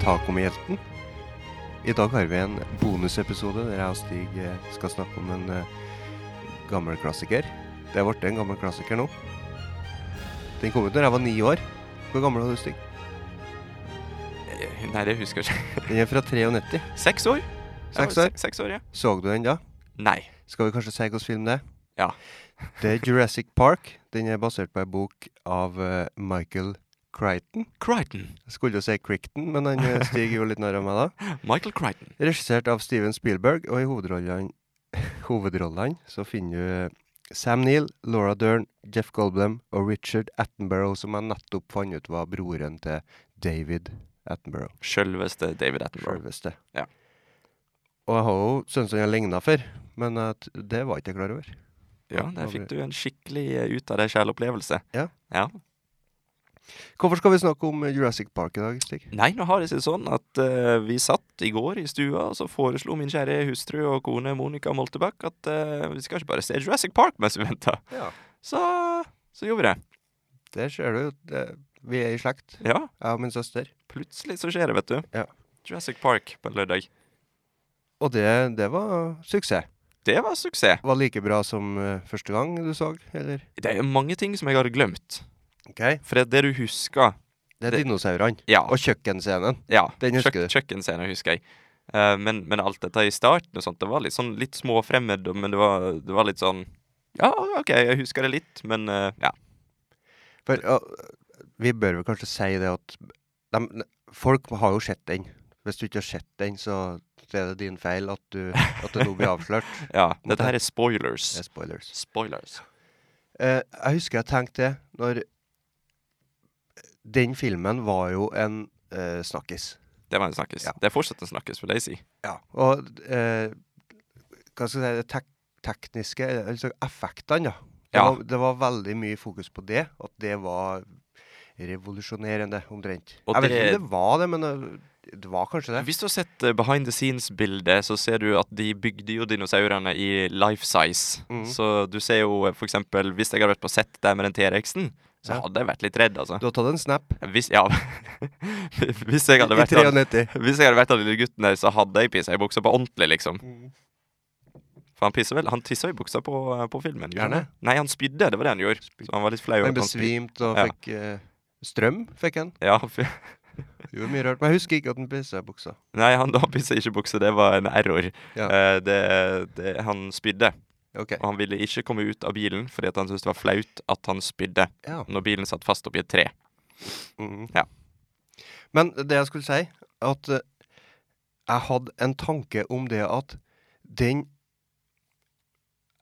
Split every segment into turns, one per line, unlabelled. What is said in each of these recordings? Taco-hjelten. I dag har vi en bonusepisode der jeg og Stig eh, skal snakke om en eh, gammel klassiker. Det er blitt en gammel klassiker nå. Den kom ut da jeg var ni år. Hvor gammel var du, Stig?
Eh, Nei, det husker jeg ikke.
Den er fra 93.
Seks år? Ja,
Seks år.
se- Seks år, ja.
Så du den da?
Nei.
Skal vi kanskje seige oss film det?
Ja.
Det er Jurassic Park. Den er basert på ei bok av eh, Michael Crichton.
Crichton.
Jeg skulle jo si Crichton, men han eh, stiger jo litt nær meg da.
Michael Crichton.
Regissert av Steven Spielberg, og i hovedrollene, hovedrollene så finner du eh, Sam Neill, Laura Dern, Jeff Goldblum og Richard Attenborough, som jeg nettopp fant ut var broren til David Attenborough.
Sjølveste David Attenborough.
Selveste.
Ja.
Og jeg har jo syntes han har ligna før, men at det var ikke jeg klar over.
Ja, der fikk du en skikkelig eh, ut av deg sjel-opplevelse.
Ja.
ja.
Hvorfor skal vi snakke om Jurassic Park i dag, Stig?
Nei, nå har det seg sånn at eh, vi satt i går i stua, og så foreslo min kjære hustru og kone Monica Moltebakk at eh, vi skal ikke bare se Jurassic Park mens vi venter.
Ja.
Så, så gjorde vi det.
Der ser du jo, det- vi er i slekt.
Ja,
Jeg og min søster.
plutselig så skjer det, vet du.
Ja.
Jurassic Park på lørdag.
Og det, det var suksess.
Det var suksess.
Var like bra som eh, første gang du så, eller?
Det er mange ting som jeg har glemt.
OK. Det
For det du husker
er
Det-
dinosaurene.
Ja.
Og kjøkkenscenen.
Ja,
Den husker du.
kjøkkenscenen husker jeg. Eh, men, men alt dette i starten og sånt, det var litt sånn litt småfremmed, og- men det var, det var litt sånn Ja, OK, jeg husker det litt, men eh, ja.
For ja, vi bør vel kanskje si det at dem- folk har jo sett den. Hvis du ikke har sett den, så er det din feil at, du, at det nå blir avslørt.
ja. Dette her er spoilers.
Det er spoilers.
Spoilers.
Eh, jeg husker jeg tenkte det når eh, Den filmen var jo en eh, snakkis.
Det var en snakkes.
Ja.
Det er fortsatt en snakkes, vil jeg si.
Ja. Og eh, hva skal jeg si det tek tekniske altså effektene, da. Det,
Ja.
var, det var veldig mye fokus på det. At det var revolusjonerende, omtrent.
Og
jeg vet
det-
ikke om det var det, men eh, det var kanskje det.
Hvis du har sett eh, behind the scenes-bildet, så ser du at de bygde jo dinosaurene i life size.
Mhm.
Så du ser jo eh, for eksempel Hvis jeg hadde vært på sett der med den T-rexen, så
Ja.
hadde jeg vært litt redd, altså.
Du har tatt en snap
Hvis, ja. hvis jeg hadde
i
vært sånn- han-
93.
Hvis jeg hadde vært den lille gutten der, så hadde jeg pissa i buksa på ordentlig, liksom. For han pisser vel Han tissa i buksa på, eh, på filmen. gjorde han
Gjerne.
det? Nei, han spydde. Det var det han gjorde. Så han var litt flau. over
Han
at han spydde.
besvimte og
Ja.
fikk eh, strøm. fikk han.
Ja, fy-
Gjorde mye rart. Men jeg husker ikke at han pissa i buksa.
Nei, han da pissa ikke i buksa. Det var en error.
Ja.
Eh, det, det, han spydde,
OK.
og han ville ikke komme ut av bilen fordi at han syntes det var flaut at han spydde
Ja.
når bilen satt fast oppi et tre.
Mhm.
Ja.
Men det jeg skulle si, at eh, jeg hadde en tanke om det at den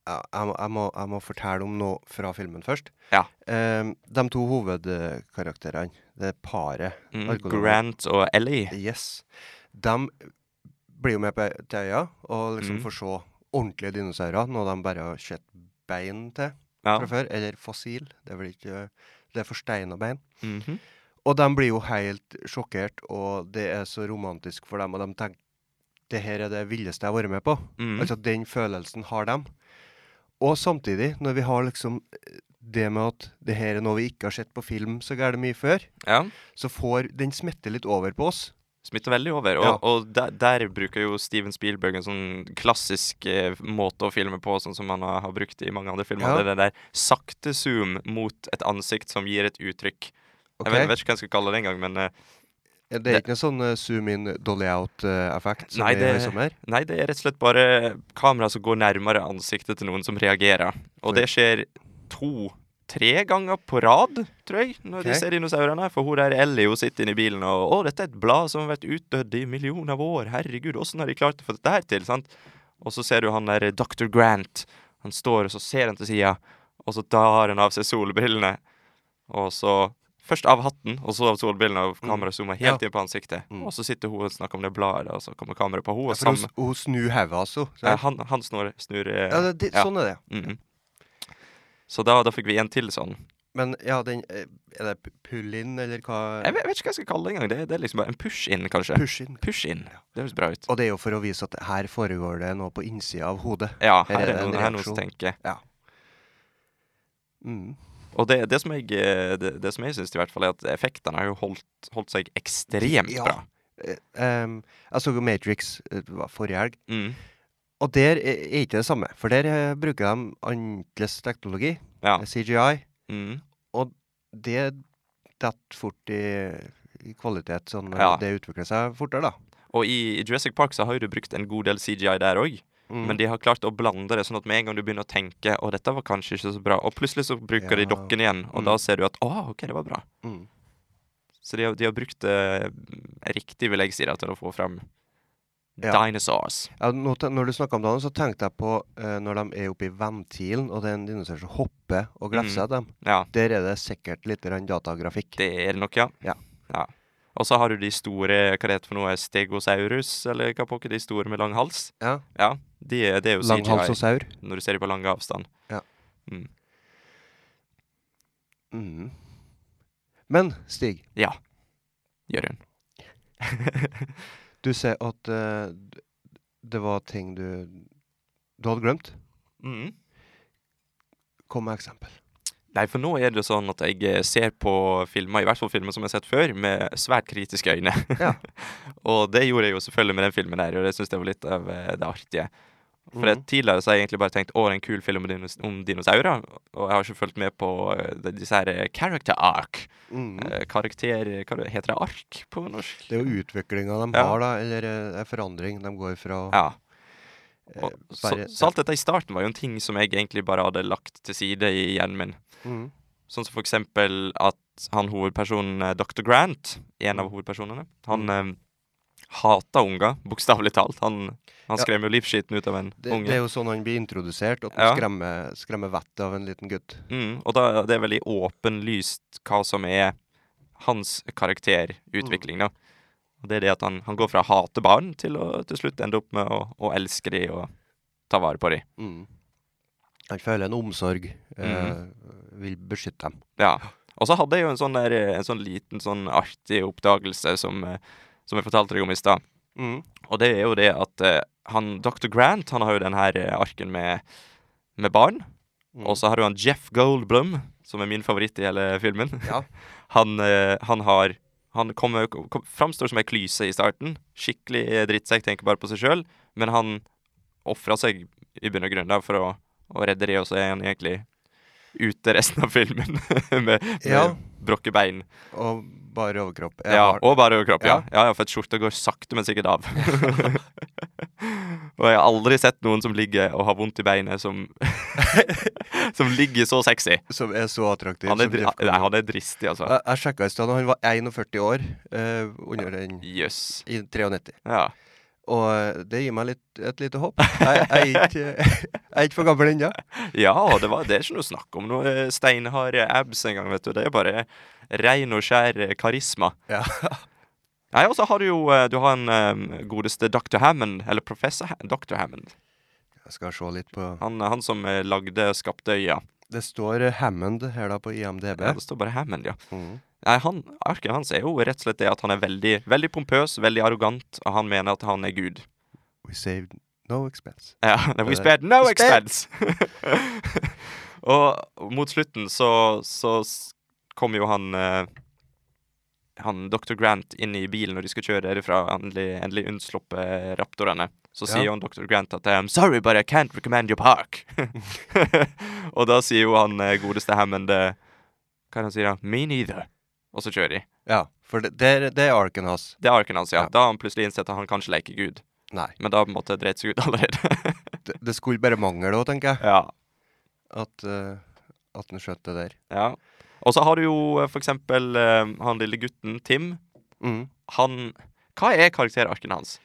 Ja, jeg, må- jeg, må, jeg må fortelle om noe fra filmen først.
Ja.
Eh, de to hovedkarakterene, det paret,
Mm,
Alkohol.
Grant og Ellie.
yes, de blir jo med på ei- til øya og liksom
Mhm.
får se ordentlige dinosaurer, noe de bare har sett bein til
Ja.
fra før. Eller fossil. Det er vel ikke Det er forsteina bein.
Mhm.
Og de blir jo helt sjokkert, og det er så romantisk for dem. Og de tenker det her er det villeste jeg har vært med på.
Mhm.
Altså den følelsen har de. Og samtidig, når vi har liksom eh, det med at det her er noe vi ikke har sett på film så gærent mye før,
ja.
så får den smitte litt over på oss.
smitter veldig over. Og,
Ja.
og der, der bruker jo Steven Spielberg en sånn klassisk eh, måte å filme på, sånn som han har, har brukt i mange andre filmer.
Ja.
Det er den der sakte zoom mot et ansikt som gir et uttrykk.
Ok?
Jeg vet, vet ikke hva jeg skal kalle det engang, men eh,
det er ikke noe sånn eh, zoom in, dolly out-effekt som
Nei,
vi har
det-
i sommer.
nei, det er rett og slett bare kamera som går nærmere ansiktet til noen som reagerer. Og det skjer to Tre ganger på rad, tror jeg, når
Ok.
de ser dinosaurene. For hun der Ellie hun sitter inne i bilen og 'Å, dette er et blad som har vært utdødd i millioner av år. Herregud, åssen har de klart å få dette her til?' sant? Og så ser du han der Dr. Grant. Han står og så ser han til sida, og så tar han av seg solbrillene. Og så Først av hatten, og så av solbrillene, og kameraet zoomer helt inn på ansiktet.
Mm.
Og så sitter hun og snakker om det bladet, og så kommer kameraet på henne.
Ja,
Og
for hun,
sammen,
s- hun snur hodet, altså. Så,
eh, han, han snur, snur eh,
ja, det, det,
ja.
Sånn er det.
mhm. Så da, da fikk vi en til sånn.
Men ja, den eh, Er det pu- pull-in, eller hva?
Jeg vet, vet ikke hva jeg skal kalle det engang. Det, det er liksom bare en push-in, kanskje.
Push-in.
Push-in. Det høres bra ut.
Og det er jo for å vise at her foregår det noe på innsida av hodet.
Ja,
Her er
her er
det en
noen, her er noen som
reaksjon.
tenker.
Mm.
Og det, det som jeg, eh, det, det som jeg syns, i hvert fall, er at effektene har jo holdt, holdt seg ekstremt
Ja.
bra.
eh, em, Jeg så jo Matrix eh, det var forrige helg,
Mm.
og der er er ikke det samme. For der eh, bruker de annerledes teknologi,
Ja.
eh, CGI.
Mm.
Det detter fort i, i kvalitet, sånn eh,
Ja.
det utvikler seg fortere, da.
Og i Jurassic Park så har jo du brukt en god del CGI der òg,
Mm.
men de har klart å blande det sånn at med en gang du begynner å tenke å dette var kanskje ikke så bra, og plutselig så bruker de
Ja.
dokken igjen, og
Mm.
da ser du at å, OK, det var bra.
Mm.
Så de har, de har brukt det riktig, vil jeg si, da, til å få fram
Ja.
dinosaurs.
Ja, nå te- når du snakka om det, så tenkte jeg på eh, når de er oppe i ventilen, og det er en dinosaur som hopper
Mm.
og glefser dem.
Ja,
Der er det sikkert litt grann datagrafikk.
det er det nok, ja.
Ja.
Ja. Og så har du de store, hva det heter for noe, stegosaurus, eller hva pokker, de store med lang hals.
Ja.
Ja, de, er- det er jo CGI,
Langhalsosaur.
når du ser dem på lang avstand. Mm.
Mhm. Men Stig,
Ja, gjør hun.
du sier at eh, d- det var ting du du hadde glemt.
Mm.
Kom med eksempel.
Nei, for nå er det sånn at jeg eh, ser på filmer, i hvert fall filmer som jeg har sett før, med svært kritiske øyne.
Ja.
og det gjorde jeg jo selvfølgelig med den filmen der, og det syns jeg var litt av eh, det artige. For jeg,
Mhm.
tidligere så har jeg egentlig bare tenkt 'Å, det er en kul film om, dinos om dinosaurer', og jeg har ikke fulgt med på eh, de- disse her eh, character arc.
Mhm.
Eh, karakter... Hva det- heter det? Ark på norsk?
Det er jo utviklinga de
Ja.
har, da, eller eh, en forandring. De går fra
Ja.
eh,
Og, så,
bare-
så alt dette i starten var jo en ting som jeg egentlig bare hadde lagt til side i hjernen min.
Mhm.
Sånn som for eksempel at han hovedpersonen eh, Dr. Grant, en av
Mm.
hovedpersonene, han mm. hata unger, bokstavelig talt. Han, han
Ja.
skrev jo livskiten ut av en
det,
unge.
det er jo sånn han blir introdusert, at han
Ja.
skremmer, skremmer vettet av en liten gutt.
Mm, og da det er veldig åpenlyst hva som er hans karakterutvikling, da. Og det er det at han, han går fra å hate barn til å til slutt ende opp med å, å elske de og ta vare på de.
Mhm. Han føler en omsorg, eh,
Mhm.
vil beskytte dem.
Ja. Og så hadde jeg jo en sånn, der, eh, en sånn liten, sånn artig oppdagelse som, eh, som jeg fortalte deg om i stad. Og det er jo det at eh, han, Dr. Grant han har jo den her eh, arken med, med barn.
Mhm.
Og så har du han Jeff Goldblum, som er min favoritt i hele filmen.
Ja.
han, eh, han har Han kommer, kom, framstår som ei klyse i starten. Skikkelig eh, drittsekk, tenker bare på seg sjøl. Men han ofra seg i bunn og grunn da, for å, å redde de, og så er han egentlig ute resten av filmen med, med
Ja.
brokke bein.
Og bare overkropp. Jeg
Ja,
har-
og bare overkropp, ja.
Ja.
ja. ja for at skjorta går sakte, men sikkert av. og jeg har aldri sett noen som ligger og har vondt i beinet, som, som ligger så sexy.
Som er så attraktiv.
Han er,
som
dri-
Jeff
nei, han er dristig, altså.
Jeg, jeg sjekka i stad, og han var 41 år eh, under den
Jøss.
i 93.
Ja.
Og eh, det gir meg litt, et lite håp. Jeg, jeg, er ikke, jeg er ikke for gammel ennå.
ja, det, var, det er ikke noe snakk om noe eh, steinharde abs engang, vet du. Det er bare rein og skjær eh, karisma.
Ja.
Nei, og så har du jo eh, Du har en eh, godeste Dr. Hammond, eller professor ha Dr. Hammond.
Jeg skal se litt på
Han, han som eh, lagde og skapte øya.
Det står eh, Hammond her da på IMDb.
Ja, det står bare Hammond, ja.
Mhm.
Nei, han, Arken hans er jo rett og slett det at han er veldig, veldig pompøs, veldig arrogant, og han mener at han er Gud.
We saved no expense.
Ja, we
det-
spared no
Eh, We spared-
expense! og mot slutten så, så s- kommer jo han eh, Han Dr. Grant inn i bilen når de skal kjøre derifra, endelig, endelig unnsluppe raptorene. Så
Ja.
sier han Dr. Grant at I'm sorry, but I can't recommend your park. og da sier jo han eh, godeste Hammond eh, Hva er det han sier da? Me neither. Og så kjører de.
Ja, for det, det, er- det er arken hans.
Det er arken hans, ja.
Ja.
Da har han plutselig innsett at han kan ikke leke Gud.
Nei.
Men da på en måte dreit seg ut allerede.
Det, det skulle bare mangle òg, tenker jeg,
ja.
at, eh, at han skjønte det der.
ja. Og så har du jo eh, for eksempel eh, han lille gutten Tim.
Mhm.
Han Hva er karakterarken hans?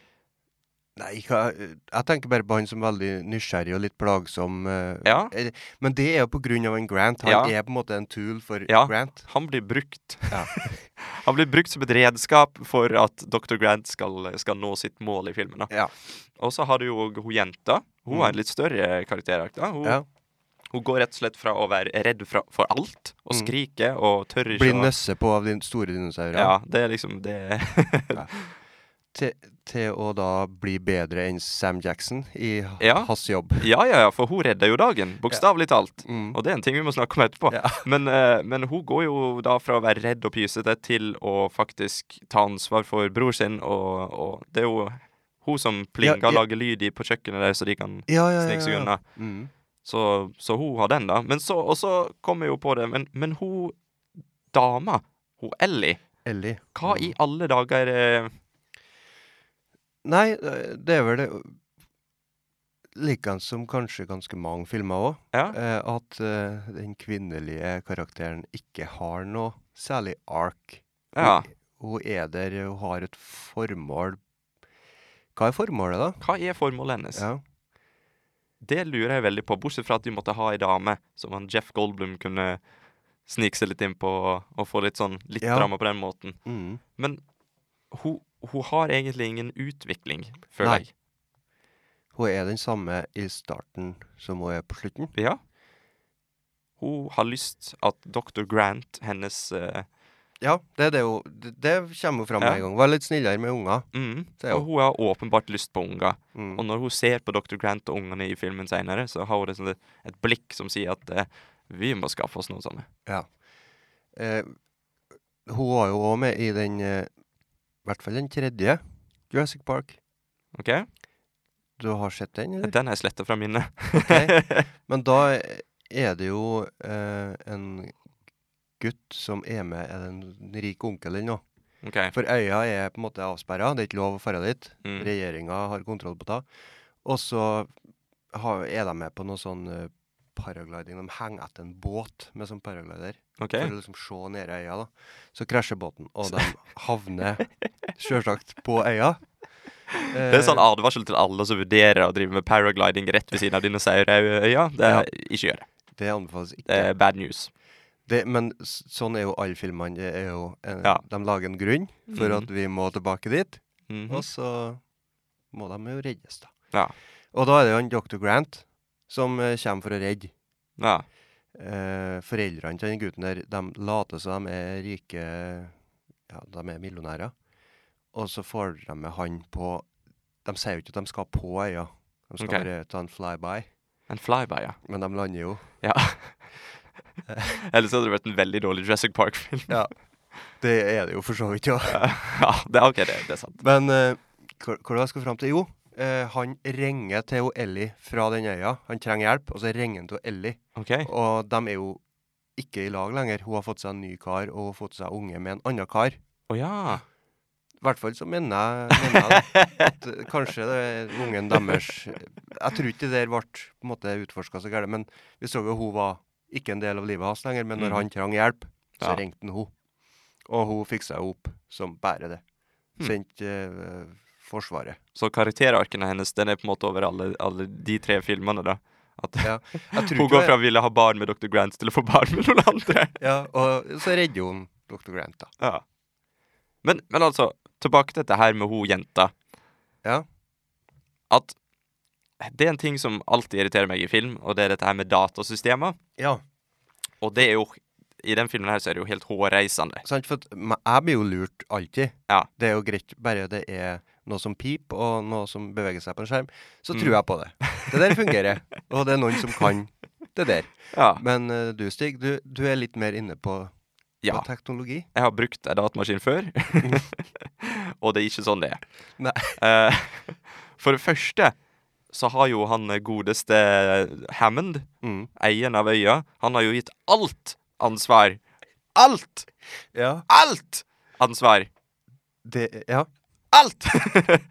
Nei, hva, jeg tenker bare på han som veldig nysgjerrig og litt plagsom. eh,
Ja.
Eh, Men det er jo på grunn av en Grant. Han
Ja.
er på en måte en tool for
Ja.
Grant.
Han blir brukt.
Ja.
han blir brukt som et redskap for at Dr. Grant skal, skal nå sitt mål i filmen. da.
Ja. Mm.
Og så har du jo hun jenta. Hun har en litt større karakterark. da. Hun,
Ja.
hun går rett og slett fra å være redd fra, for alt, og
Mm.
skrike og tør ikke
Blir
å-
nøsse på av de store dinosaurene.
Ja, det er liksom det
Til, til å da bli bedre enn Sam Jackson i h-
Ja.
hans jobb.
Ja, ja, ja, for hun redda jo dagen, bokstavelig talt.
Mm.
Og det er en ting vi må snakke om etterpå.
Ja.
Men, eh, men hun går jo da fra å være redd og pysete til å faktisk ta ansvar for bror sin, og, og det er jo hun som plinga
Ja, ja.
lager lyd i på kjøkkenet der, så de kan
Ja, ja,
snike
ja.
seg
ja.
unna.
Mm.
Så, så hun har den, da. Men så, og så kommer jeg jo på det, men, men hun dama, hun Ellie,
Ellie. Mm.
hva i alle dager eh,
Nei, det er vel det Likeens som kanskje ganske mange filmer òg,
Ja?
eh, at eh, den kvinnelige karakteren ikke har noe særlig ark.
ja.
Hun er der, hun har et formål. Hva er formålet, da?
Hva er formålet hennes?
Ja.
Det lurer jeg veldig på, bortsett fra at de måtte ha ei dame som han Jeff Goldblum kunne snike seg litt inn på og få litt sånn litt
Ja.
drama på den måten.
Mm.
Men hun, hun har egentlig ingen utvikling,
Nei.
føler jeg.
Hun er den samme i starten som hun er på slutten.
Ja. Hun har lyst at Dr. Grant, hennes eh,
Ja, det er det hun Det, det kommer hun fram med
Ja.
en gang. Vær litt snillere med unger.
mm,
Det er
Og hun har åpenbart lyst på unger.
Mm.
Og når hun ser på Dr. Grant og ungene i filmen seinere, så har hun det sånn et, et blikk som sier at eh, vi må skaffe oss noen sånne.
Eh, hun var jo òg med i den eh, I hvert fall den tredje Jurassic Park.
OK?
Du har sett den, eller?
Den er sletta fra minnet.
Ok. Men da er det jo eh, en gutt som er med er det en rik onkel eller noe.
OK.
For øya er på en måte avsperra, det er ikke lov å dra dit.
Mm.
Regjeringa har kontroll på det. Og så har, er de med på noe sånn eh, paragliding. De henger etter en båt med sånn paraglider
ok.
for å liksom se ned i øya. da. Så krasjer båten, og de havner sjølsagt på øya. Eh,
Det er sånn advarsel til alle som vurderer å drive med paragliding rett ved siden av dinosaurøya. Det er,
Ja.
Ikke gjør det.
det anbefales ikke.
Det er bad news.
Det, men s- sånn er jo alle filmene. Det er jo, eh,
Ja.
De lager en grunn for
Mhm.
at vi må tilbake dit,
Mhm.
og så må de jo reddes, da.
Ja.
Og da er det jo en Dr. Grant som eh, kommer for å redde.
ja.
Eh, foreldrene til den gutten der de later som de er rike Ja, de er millionærer. Og så får de med han på De sier jo ikke at de skal på øya. De skal
Ok.
bare ta en flyby,
En flyby, ja.
men de lander jo.
ja.
Eh.
Ellers hadde det vært en veldig dårlig Jurassic Park-film.
Ja. Det er det jo for så vidt òg.
ja, det, ok, det, det er sant.
Men eh, hva hva var det jeg skulle fram til? Jo, eh, han ringer til hun Ellie fra den øya. Han trenger hjelp, og så ringer han til hun Ellie.
Ok.
Og de er jo ikke i lag lenger. Hun har fått seg en ny kar, og hun har fått seg unge med en annen kar.
Å ja.
I hvert fall så mener jeg, mener jeg da, at eh, kanskje det er ungen deres Jeg tror ikke det der ble på en måte utforska så gærent, men vi så jo hun var ikke en del av livet hans lenger. Men
Mhm.
når han trang hjelp, så
Ja.
ringte han hun. Og hun fiksa jo opp som bare det.
Hmm.
Sendte eh, Forsvaret.
Så karakterarkene hennes den er på en måte over alle, alle de tre filmene, da. At
Ja. Jeg tror
hun
ikke
går
det-
fra å ville ha barn med Dr. Grant til å få barn med noen andre.
Ja, og så redder hun Dr. Grant, da.
Ja. Men, men altså, tilbake til dette her med hun jenta.
Ja.
At det er en ting som alltid irriterer meg i film, og det er dette her med datasystemer.
Ja.
Og det er jo I den filmen her så er det jo helt hårreisende.
Sant, for at me- jeg blir jo lurt alltid.
Ja.
Det er jo greit, bare det er noe som piper, og noe som beveger seg på en skjerm, så
Mm.
tror jeg på det. Det der fungerer, og det er noen som kan det der.
Ja.
Men eh, du, Stig, du, du er litt mer inne på,
ja.
på teknologi.
Jeg har brukt en datamaskin før, og det er ikke sånn det er.
Nei.
Eh, for det første så har jo han godeste Hammond,
Mm.
eieren av øya, han har jo gitt alt ansvar. Alt!
Ja.
Alt ansvar.
Det, ja.
Alt!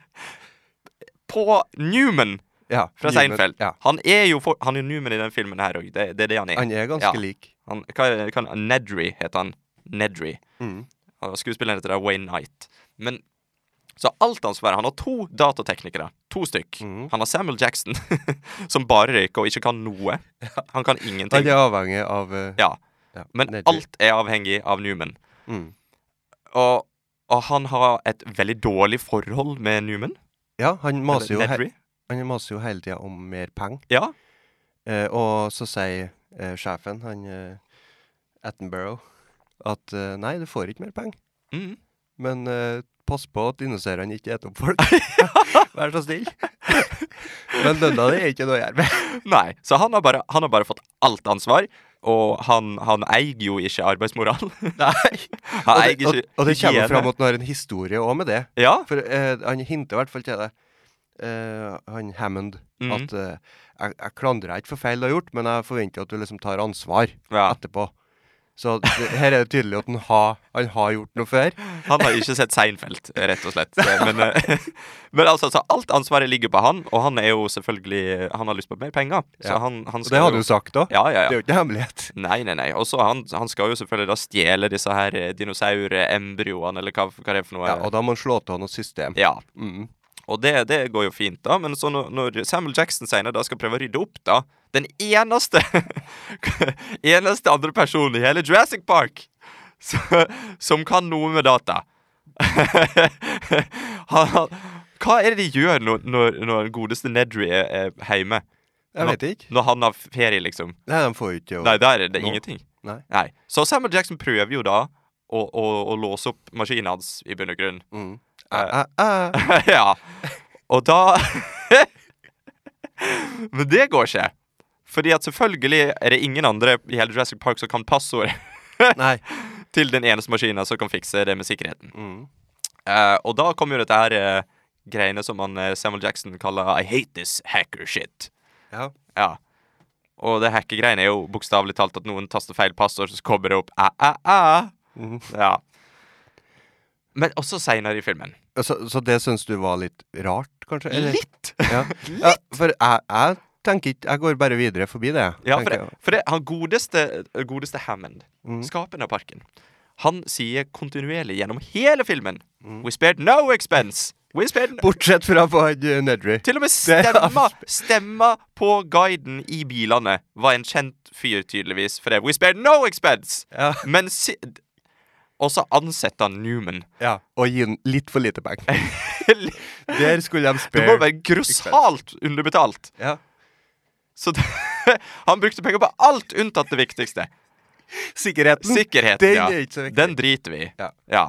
på Newman
ja.
fra
Newman.
Seinfeld.
Ja.
Han er jo for, han er Newman i den filmen her òg. Det, det er det han er.
Han er ganske
Ja.
lik.
Han, hva er det- hva er det- Nedry heter han. Nedry.
Mm.
Han- Skuespilleren heter da Wayne Knight. Men så alt han svarer Han har to datateknikere. To stykk.
Mhm.
Han har Samuel Jackson, som bare røyker og ikke kan noe. Han kan
Han
ingenting.
er avhengig av eh,
Ja,
ja,
Men
Nedry.
alt er avhengig av Newman.
Mm.
Og, og han har et veldig dårlig forhold med Newman.
Ja, han maser jo,
Eller
he
Nedry.
han maser jo hele tida om mer penger.
Ja.
Eh, og så sier eh, sjefen, han eh, Attenborough, at eh, nei, du får ikke mer penger.
Mhm.
Men eh, pass på at dinosaurene ikke eter opp folk. Vær så snill. Men lønna di er ikke noe å gjøre med.
Nei, så han har bare, han har bare fått alt ansvar. Og han, han eier jo ikke arbeidsmoral. Nei.
Og
Han eier
det,
ikke
og, og det kommer
hygiene.
jo fram at han har en historie òg med det.
Ja.
For eh, han hinter i hvert fall til det. Eh, han Hammond.
Mhm.
At eh, jeg, jeg klandrer deg ikke for feil du har gjort, men jeg forventer at du liksom tar ansvar
ja.
etterpå. Så det, her er det tydelig at han, har- han har gjort noe før.
Han har ikke sett Seinfeld, rett og slett. Men, eh, men altså, så alt ansvaret ligger på han, og han er jo selvfølgelig Han har lyst på mer penger. Så
Ja.
han, han
Og det har du jo sagt òg.
Ja, ja,
Det er jo
ja.
ikke noe hemmelighet.
Nei, nei, nei. Og så han, han skal jo selvfølgelig da stjele disse her eh, dinosaurembryoene, eller hva, hva det er for noe.
Ja, og da må han slå til noe system.
ja.
Mhm.
Og det, det går jo fint, da. Men så når, når Samuel Jackson senere da skal prøve å rydde opp, da Den eneste Eneste andre personen i hele Jurassic Park som, som kan noe med data. han, han, hva er det de gjør når, når, når godeste Nedry er, er hjemme?
Jeg vet ikke.
Når han har ferie, liksom?
Nei, de får jo ikke å-
Nei, der er det
Nå.
ingenting.
Nei.
Så Samuel Jackson prøver jo da å, å, å låse opp maskinen hans, i bunn og grunn.
Mhm. Æ, æ, æ.
ja. Og da Men det går ikke. Fordi at selvfølgelig er det ingen andre i hele Jurassic Park som kan passordet
Nei.
til den eneste maskinen som kan fikse det med sikkerheten.
Mhm.
Eh, og da kommer jo dette her eh, greiene som han, eh, Samuel Jackson kaller I hate this hacker shit.
Ja.
Ja. Og det hackergreiene er jo bokstavelig talt at noen taster feil passord, så kommer det opp æ, æ, æ.
Mhm.
Ja. Men også seinere i filmen.
Så, så det syns du var litt rart, kanskje? Eller-
Litt!
Ja. ja for jeg, jeg tenker ikke Jeg går bare videre forbi det. jeg,
Ja, for
tenker
det,
jeg.
for det han godeste, godeste Hammond,
Mhm.
skaperen av parken, han sier kontinuerlig gjennom hele filmen
Mhm.
We spared no expense! We spared no
Bortsett fra på han, eh, Nedry.
Til og med
Det er-
stemma, stemma på guiden i bilene var en kjent fyr, tydeligvis, for det. We spared no expense!
Ja.
Men si... Og så ansetter han Newman.
Ja. Og gi den litt for lite penger.
det
Der skulle de
må
spare.
være grossalt underbetalt.
Ja.
Så det, han brukte penger på alt unntatt det viktigste.
Sikkerheten.
Sikkerheten,
Den
ja.
er ikke så viktig.
Den driter vi i.
Ja.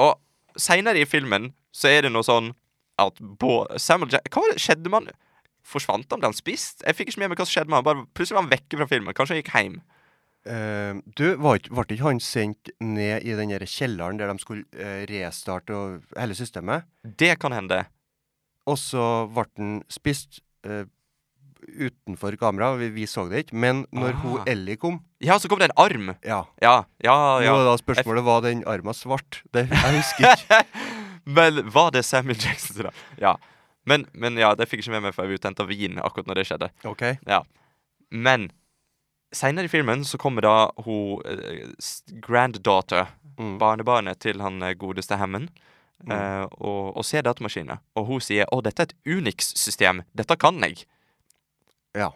Og seinere i filmen så er det noe sånn at Bo Samuel Jack Hva var det? skjedde med han? Forsvant han? Ble han spist? Jeg fikk ikke med meg hva som skjedde med han. Bare plutselig var han vekke fra filmen. Kanskje han gikk hjem.
Eh, du, var ikke, ble ikke han sendt ned i den der kjelleren der de skulle eh, restarte og, hele systemet?
Det kan hende.
Og så ble han spist eh, utenfor kamera, vi, vi så det ikke. Men når
Ah.
hun Ellie kom
Ja, så kom det en arm.
Ja.
Ja, ja, ja.
Nå er da spørsmålet var den arma svart. Det, jeg husker ikke.
Men var det Samuel Jackson sin arm? Ja. Men, men ja, det fikk jeg ikke med meg, for jeg var ute og henta vin akkurat når det skjedde.
OK.
Men seinere i filmen så kommer da hun eh, s- granddaughter,
Mm.
barnebarnet til han eh, godeste Hammond,
Mm.
eh, og, og ser datamaskinen. Og hun sier 'Å, dette er et Unix-system. Dette kan jeg'.
Ja.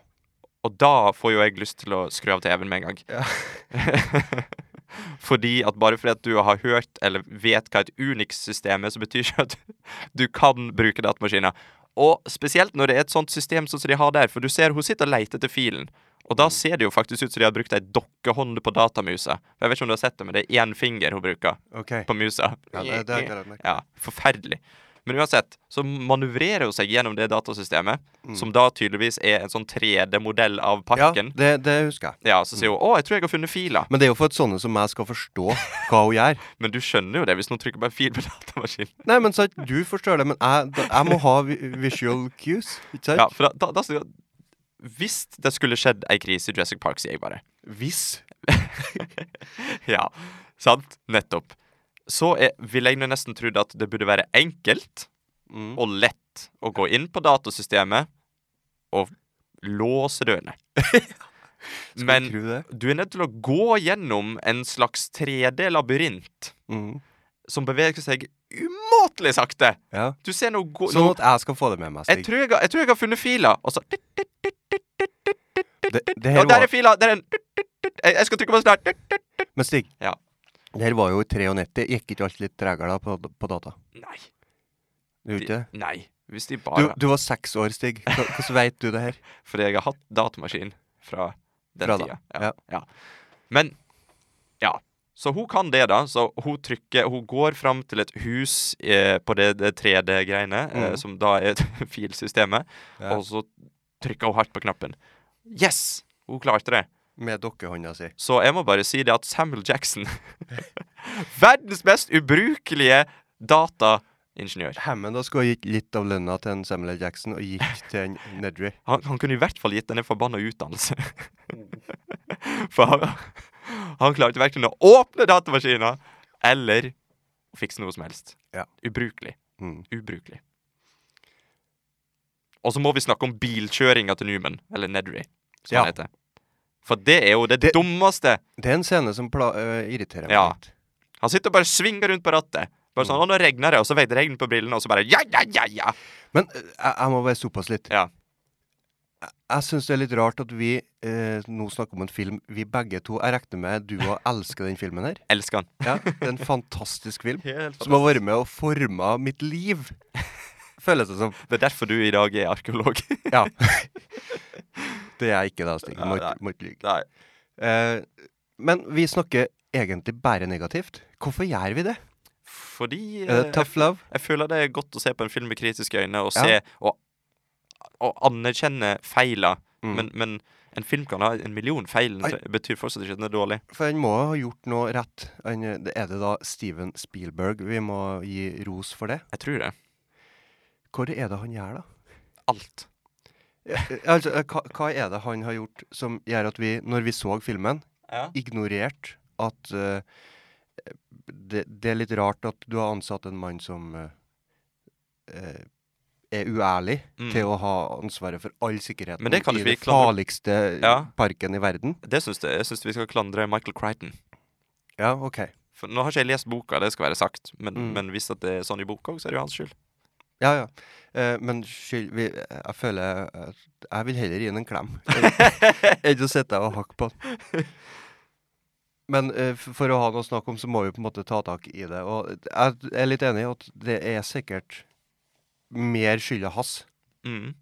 Og da får jo jeg lyst til å skru av TV-en med en gang.
Ja.
fordi at bare fordi at du har hørt eller vet hva et Unix-system er, så betyr ikke at du kan bruke datamaskiner. Og spesielt når det er et sånt system sånn som de har der, for du ser hun sitter og leter etter filen. Og
Mm.
da ser det jo faktisk ut som de har brukt ei dokkehånd på datamusa. Jeg vet ikke om du har sett det, men det er én finger hun bruker
OK.
på musa.
Ja, det, det har ikke jeg lagt merke
Ja, forferdelig. Men uansett, så manøvrerer hun seg gjennom det datasystemet,
Mm.
som da tydeligvis er en sånn 3D-modell av
til.
parken.
Ja, det, det husker jeg.
Ja, så sier hun 'Å, jeg tror jeg har funnet fila',
Men det er jo for at sånne som meg skal forstå hva hun gjør.
men du skjønner jo det hvis noen trykker på en fil på datamaskinen.
Nei, men sant, du forstår det, men jeg, da, jeg må ha vi- visual cues, ikke sant?
Ja, for da, da, da sier hun Hvis det skulle skjedd ei krise i Jurassic Park, sier jeg bare.
Hvis.
ja, sant? Nettopp. Så er, ville jeg nå nesten trodd at det burde være enkelt
Mm.
og lett å gå inn på datasystemet og låse dørene.
Skal
Men
du tro det?
du er nødt til å gå gjennom en slags 3D-labyrint
Mm.
som beveger seg umåtelig sakte.
Ja.
Du ser noe gå...
Sånn
noe-
at jeg skal få det med meg,
jeg,
Stig.
tror jeg, har- jeg tror jeg har funnet fila, og så
Det, det
Ja,
her
der er
var,
fila! Der er en Jeg jeg skal trykke på den snart.
men Stig,
Ja.
det her var jo i 93. Gikk ikke alt litt tregere da på, på data?
Nei.
Du,
de-
ikke? det?
Nei. Hvis de
Du,
bare
du var seks år, Stig. Hva- Hvordan veit du det her?
Fordi jeg har hatt datamaskin fra den
Fra da,
tida.
ja.
Ja. Men ja. Så hun kan det, da. Så hun trykker Hun går fram til et hus eh, på det, det 3D-greiene, eh,
Mhm.
som da er filsystemet,
Ja.
og så trykker hun hardt på knappen. Yes! Hun klarte det.
Med dokkehånda si.
Så jeg må bare si det at Samuel Jackson Verdens mest ubrukelige dataingeniør.
Hammond da skulle ha gitt litt av lønna til en Samuel L. Jackson og gitt til en Nedry.
Han, han kunne i hvert fall gitt denne forbanna utdannelse. For han, han klarte verken å åpne datamaskiner eller fikse noe som helst.
Ja.
Ubrukelig.
Mm.
Ubrukelig. Og så må vi snakke om bilkjøringa til Newman, eller Nedry, som
Ja.
han heter. For det er jo det,
Det-
dummeste.
Det er en scene som pla øh, irriterer meg
Ja.
litt.
Han sitter og bare svinger rundt på rattet. Bare sånn,
Mm.
«Å, Nå regner det, og så veier det regn på brillene, og så bare ja, ja, ja, ja.
Men øh, jeg, jeg må bare såpass litt.
Ja.
Jeg, jeg syns det er litt rart at vi øh, nå snakker om en film vi begge to Jeg regner med du òg elsker den filmen her.
Elsker han.
Ja, Det er en fantastisk film
Helt
som har vært med og forma mitt liv. Føles det som.
Det er derfor du i dag er arkeolog.
Ja. Det er jeg ikke, da, Stig. Må
Nei,
ikke- må ikke lyve.
Nei.
Eh, men vi snakker egentlig bare negativt. Hvorfor gjør vi det?
Fordi
Er
eh,
det tough love?
Jeg føler det er godt å se på en film med kritiske øyne og
Ja.
se og, og anerkjenne feila.
Mm.
Men, men en film kan ha en million feil.
Ai.
Det betyr fortsatt ikke at den er dårlig.
For han må ha gjort noe rett. Han, eh, det- er det da Steven Spielberg vi må gi ros for det?
Jeg tror det.
Hvor er det han gjør, da?
Alt.
Eh, eh, Altså, eh, hva, hva er det han har gjort som gjør at vi, når vi så filmen, ignorerte at eh, det, det er litt rart at du har ansatt en mann som eh, eh, er uærlig
Mm.
til å ha ansvaret for all sikkerheten
Men det kan
i
ikke vi
den
klandre-
farligste
Ja.
parken i verden.
Det syns jeg. Jeg syns vi skal klandre Michael Crichton.
Ja, OK.
For nå har ikke jeg lest boka, det skal være sagt, men,
Mm.
men hvis at det er sånn i boka òg, så er det jo hans skyld.
Ja, ja. Eh, men skyld vi, Jeg føler at Jeg vil heller gi den en klem enn å sitte og hakke på den. Men eh, f- for å ha noe å snakke om, så må vi på en måte ta tak i det. Og jeg er litt enig i at det er sikkert mer skylda hans.
Mm.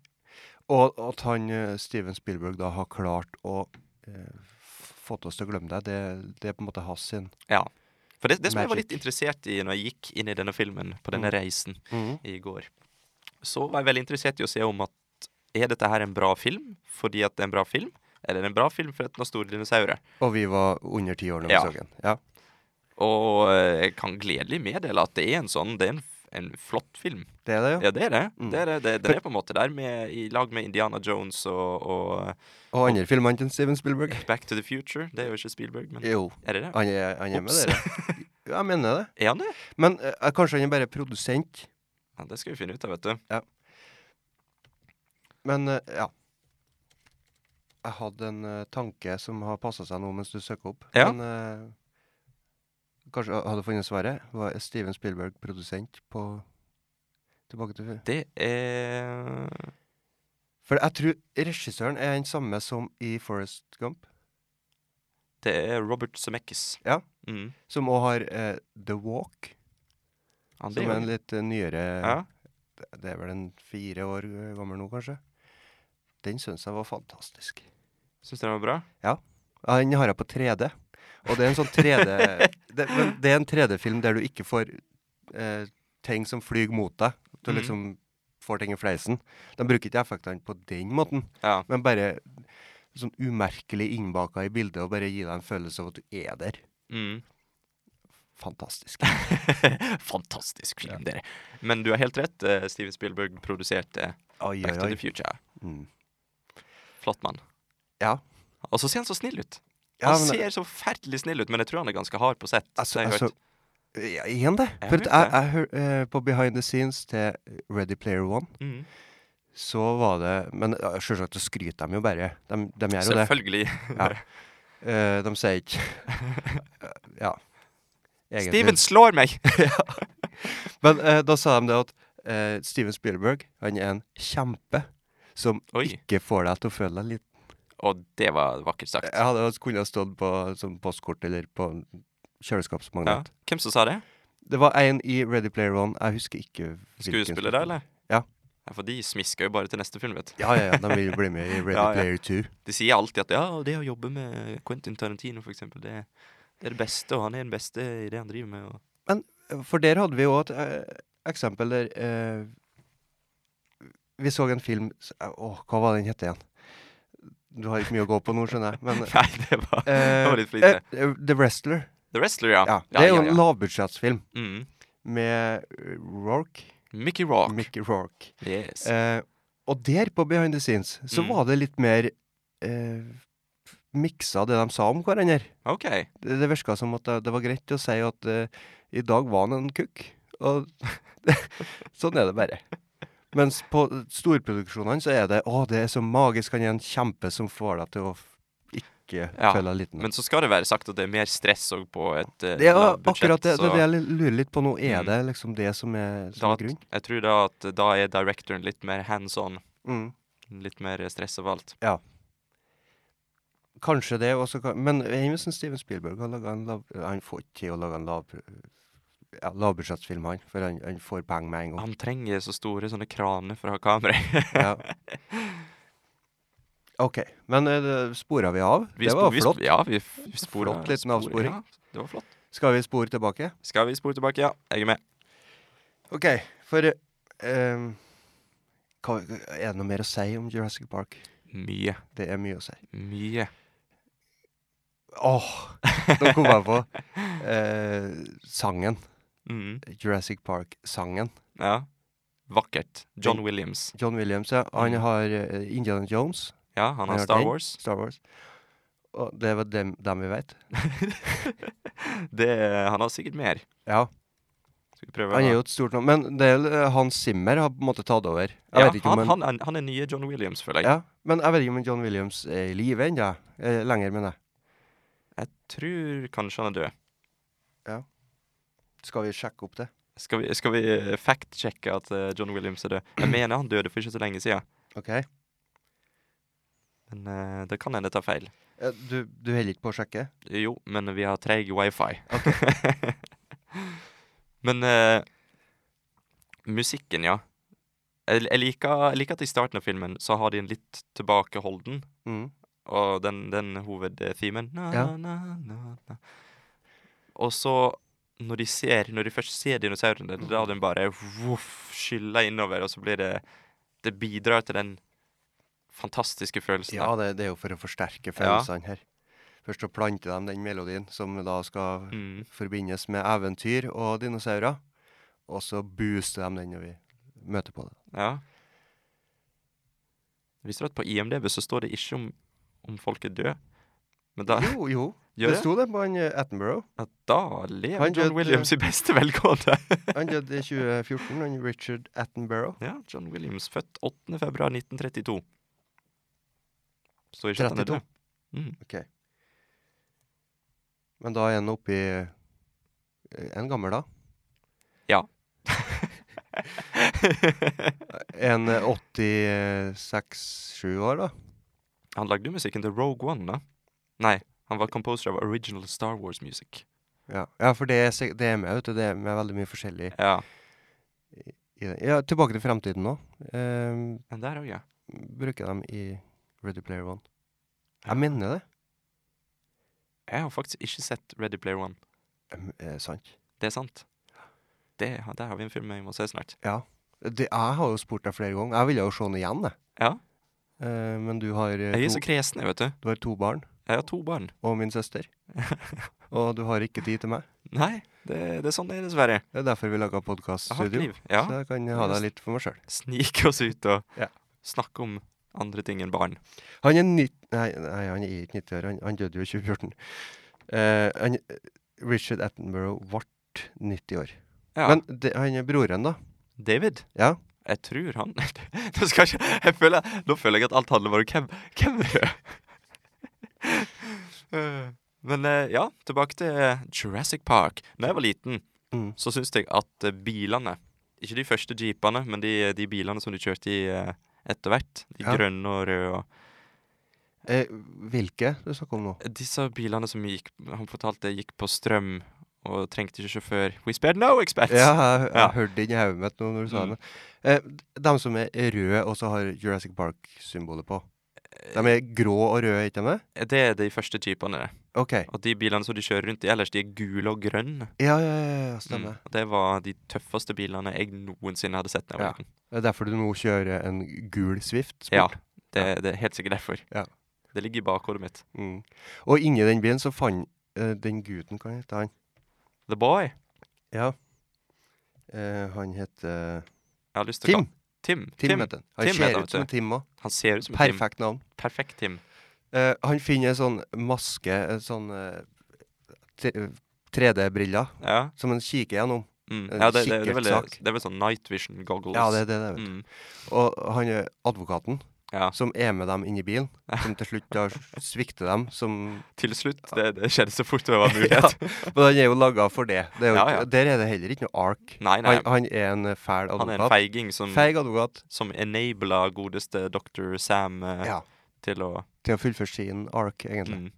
Og at han eh, Steven Spielberg da har klart å eh, f- fått oss til å glemme deg, det, det er på en måte hans sin.
Ja. For det, det som jeg var
Magic.
litt interessert i når jeg gikk inn i denne filmen, på denne
Mm.
reisen i går, så var jeg veldig interessert i å se om at er dette her en bra film fordi at det er en bra film, eller er det en bra film fordi at den har store dinosaurer?
Og vi var under ti år da vi
Ja.
så den. Ja.
Og eh, jeg kan gledelig meddele at det er en sånn Det er en, f- en flott film.
Det er det, jo.
Ja, det er det.
Mm.
det, er det. det den er på en måte der med, i lag med Indiana Jones og, og
Og andre filmene til Steven Spielberg.
Back to the Future. Det er jo ikke Spielberg, men
Jo.
er det det?
Han er, han er med
Ops.
dere. Ja, jeg mener det.
Er han det?
Men eh, kanskje han er bare produsent.
Ja, det skal vi finne ut av, vet du.
Men eh, ja. Jeg hadde en eh, tanke som har passa seg nå mens du søker opp.
Ja.
Men eh, kanskje jeg hadde funnet svaret. Var Steven Spielberg produsent på Tilbake til før?
Det er
For jeg tror regissøren er den samme som i Forest Gump,
Det er Robert Zemeckis.
Ja.
Mm.
som òg har eh, The Walk,
Han, det
som
er
er
jo-
en litt eh, nyere
ja.
Det er vel en fire år eh, gammel nå, kanskje. Den syns jeg var fantastisk.
Syns du den var bra?
Ja, den har jeg på 3D. Og det er en sånn 3D det, men det er en 3D-film der du ikke får eh, ting som flyr mot deg. Du
Mhm.
liksom får ting i fleisen. De bruker ikke effektene på den måten,
Ja.
men bare sånn umerkelig innbaka i bildet og bare gi deg en følelse av at du er der.
Mm.
Fantastisk.
Fantastisk film, dere. Men du har helt rett. eh, Steven Spielberg produserte
Oi, oi,
Back to
oi.
the Future.
Mm.
Flott mann.
Ja.
Og så ser han så snill ut.
ja
han
men,
ser så forferdelig snill ut, men jeg tror han er ganske hard på sett.
Altså,
det har jeg
altså
hørt.
ja, Igjen, det.
Jeg
For
vet
at jeg, jeg hør, eh, på Behind the Scenes til Ready Player One,
Mm.
så var det Men ja, sjølsagt, så skryter de jo bare. De, de gjør jo det.
Selvfølgelig.
Eh, de sier ikke Ja.
Steven slår meg!
Men eh, da sa de det at eh, Steven Spielberg han er en kjempe som
Oi.
ikke får deg til å føle deg litt
Og det var vakkert sagt.
Jeg hadde også kunnet stått på sånn postkort eller på en
Ja.
kjøleskapsmagnet.
Hvem som sa det?
Det var en i Ready Player One. Jeg husker ikke hvilken
Skuespillere,
skuespiller.
eller?
Ja.
ja. For de smisker jo bare til neste film, vet du.
Ja, ja, ja, de vil bli med i Ready
Ja, ja.
Player Two.
De sier alltid at ja, det å jobbe med Quentin Tarantino, for eksempel, det, Det er det beste, og han er den beste i det han driver med. Og...
For der hadde vi jo et eh, eksempel der eh, Vi så en film s- eh, Åh, hva var den hette igjen? Du har ikke mye å gå på nå, skjønner jeg. Men
Nei, det var, det var
eh,
litt for lite.
eh, eh, The Wrestler.
The Wrestler, ja.
Ja, det er jo
ja,
en lavbudsjettsfilm
Mm.
med eh, Rourke.
Mickey Rock.
Mickey Rourke.
yes.
Eh, og der på Behind the Scenes så
Mm.
var det litt mer eh, miksa det de sa om hverandre.
OK.
Det, det virka som at det, det var greit å si at eh, i dag var han en kukk. Og sånn er det bare. Mens på storproduksjonene så er det å, det er så magisk, han er en kjempe som får deg til å f- ikke
Ja,
føle deg liten.
Men så skal det være sagt at det er mer stress òg på et eh,
det er
lavt budsjett,
akkurat det, det,
så
er det jeg lurer litt på nå. Er
Mm. Sånn
det liksom det som er, som
da,
er grunnen?
jeg tror da at eh, da er directoren litt mer hands on.
Mm.
Litt mer stress over alt.
Kanskje det også kan, Men jeg syns Steven Spielberg har laget en lav, han får ikke til å lage en lav, ja, lavbudsjettsfilm, han. For han, han får penger med en gang.
Han trenger så store sånne kraner for å ha kamera.
Ja. OK. Men uh, spora vi av?
Vi
det
spo-
var
vi sp-
flott.
Ja, vi f- vi spora.
Flott liten
spor-
avsporing.
Ja, det var flott.
Skal vi spore tilbake?
Skal vi spore tilbake? Ja, jeg er med.
OK, for eh, ehm, hva, Er det noe mer å si om Jurassic Park?
Mye.
Det er mye å si.
Mye.
Åh! Nå kom jeg på eh, sangen.
Mm.
Jurassic Park-sangen.
Ja. Vakkert. John Williams.
John Williams, ja. Han
Mm.
har eh, Indiana Jones.
Ja, han har
Ja,
Star
den.
Wars.
Star Wars. Og det var dem, dem vi vet.
Det, han har sikkert mer.
Ja,
Skal vi prøve
han er
da?
jo et stort navn. Men det, er, eh, Hans Zimmer har på en måte tatt over. Jeg
ja,
vet ikke om
han, han, er- han er nye John Williams, føler jeg.
ja, men jeg vet ikke om en John Williams er i live ennå. Eh, lenger, mener jeg.
Jeg tror kanskje han er død.
Skal vi sjekke opp det?
Skal vi, skal vi eh, fact-sjekke at eh, John Williams er død? Jeg mener han døde for ikke så lenge siden.
OK.
Men eh, det kan hende jeg tar feil.
Eh, Du, du holder ikke på å sjekke?
Jo, men vi har treg wifi. men eh, musikken, ja. Jeg, jeg, liker, jeg liker at i starten av filmen så har de en litt tilbakeholden
Mm.
Og den, den hovedthemen na,
Ja.
na, na, na. Og så når de, ser, når de først ser dinosauren Det er da den bare voff, skyller innover Og så blir det Det bidrar til den fantastiske følelsen
Ja,
da.
det, det er jo for å forsterke følelsene her. Først så planter de den melodien som da skal
mm.
forbindes med eventyr og dinosaurer. Og så booster de den når vi møter på det.
ja. Visste du at på IMDB så står det ikke om, om folk er døde Men da,
Jo, jo.
gjør
Det
det,
sto det på han eh, Attenborough.
at da lever
Han
John
døde-
Williams i beste velgående
Han døde i 2014, han Richard Attenborough.
Ja, John Williams, født 8. februar 1932. Står ikke at han er
32?
død. Mm.
Men da er han oppi eh, En gammel, da?
Ja.
en 86-7 år, da?
Han lagde jo musikken til Rogue One, da. Nei, han var composer av original Star Wars music.
Ja, ja for det er, sik- det er med, vet du. Det er med veldig mye forskjellig
Ja,
i det. Ja, tilbake til fremtiden nå. Ehm,
men der òg, ja.
bruker dem i Ready Player One.
Ja.
Jeg mener det.
Jeg har faktisk ikke sett Ready Player One.
Em, Er det sant?
Det er sant. Det, ja, der har vi en film jeg må se snart.
Det, jeg har jo spurt deg flere ganger. Jeg ville jo se den igjen, jeg.
Ja.
Eh, men du har, eh,
Jeg er
to,
så kresen, jeg, vet du.
du har to barn,
Jeg har to barn.
og min søster. og du har ikke tid til meg.
Nei, det, det er sånn det er, dessverre.
Det er derfor vi laga
Jeg har ikke
podkaststudio.
liv. Ja.
Så jeg kan ha deg litt for meg sjøl.
Snike oss ut og
Ja.
snakke om andre ting enn barn.
Han er 90 nei, nei, han er ikke 90 år. Han, han døde jo i 2014. Eh, han, Richard Attenborough ble 90 år.
Ja.
Men det, han er broren, da.
David?
Ja.
Jeg tror han Nå skal jeg ikke jeg føler, Nå føler jeg at alt handler bare om hvem, hvem er det? Eh, Men eh, ja, tilbake til eh, Jurassic Park. Da jeg var liten,
Mm.
så syntes jeg at eh, bilene Ikke de første jeepene, men de, de bilene som de kjørte i eh, etter hvert. De
Ja.
grønne og røde og
Eh, hvilke du snakker om nå?
Disse bilene som gikk Han fortalte gikk på strøm og trengte ikke sjåfør. We spared no experts!
Ja, jeg, jeg
Ja.
hørte det inni hodet mitt nå når du sa
Mm.
det. Eh, de som er røde og så har
Eh,
Jurassic Park-symbolet på. De er grå og røde, ikke de? det?
Det er de første jeepene. det.
OK.
Og de bilene som de kjører rundt i ellers, de er gule og grønne.
Ja, ja, ja, ja
Mm.
stemmer.
og Det var de tøffeste bilene jeg noensinne hadde sett. da jeg var
Ja.
liten.
Det er derfor du nå kjører en gul Swift
Ja,
Sport.
det, det er helt sikkert derfor.
Ja.
Det ligger i bakhodet mitt.
Mm. Og inni den bilen så fant eh, den gutten, hva heter han?
The Boy. Jeg
Ja. Eh, han heter
har lyst til å
Tim.
ka- Tim.
Tim,
Tim.
heter han. Han
Tim heter
ser
han,
ut som
vet
en Tim òg.
Han ser ut som Tim.
Perfekt navn.
Perfekt Tim.
Eh, han finner en sånn maske, en sånn eh, tre- 3D-briller,
Ja,
som han kikker gjennom.
mm.
En
ja det, det, det, er vel,
kikkertsak.
det er vel sånn night vision goggles.
Eh, Ja, det er det. det er, vet.
Mm.
du. Og han er advokaten,
Ja.
som er med dem inn i bilen. Som til slutt da svikter dem, som
Til slutt. Det, det skjedde så fort det var
Ja,
mulighet.
Men han er jo laga for det. det er jo,
Ja,
ikke-
ja.
Der er det heller ikke noe ark.
Nei, nei.
Han, han er en eh, fæl
Han er en
advokat.
feiging som,
Feig advokat.
som enabla godeste Dr. Sam eh,
Ja.
til å
Til å fullføre sin ark, egentlig.
mm.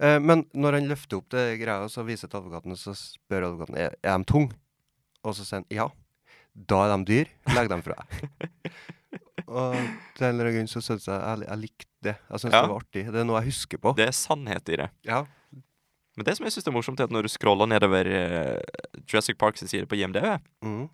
Eh, men når han løfter opp det greia, så viser til advokaten, så spør advokaten er, er de tung? Og så sier han ja. Da er de dyr. Legg dem fra deg. Og til en eller annen grunn så syns jeg jeg, jeg likte det. Jeg syns
Ja.
det var artig. Det er noe jeg husker på.
Det er sannhet i det.
Ja.
Men det som jeg synes er morsomt, er at når du scroller nedover eh, Jurassic Park sin side på IMDv,
Mm.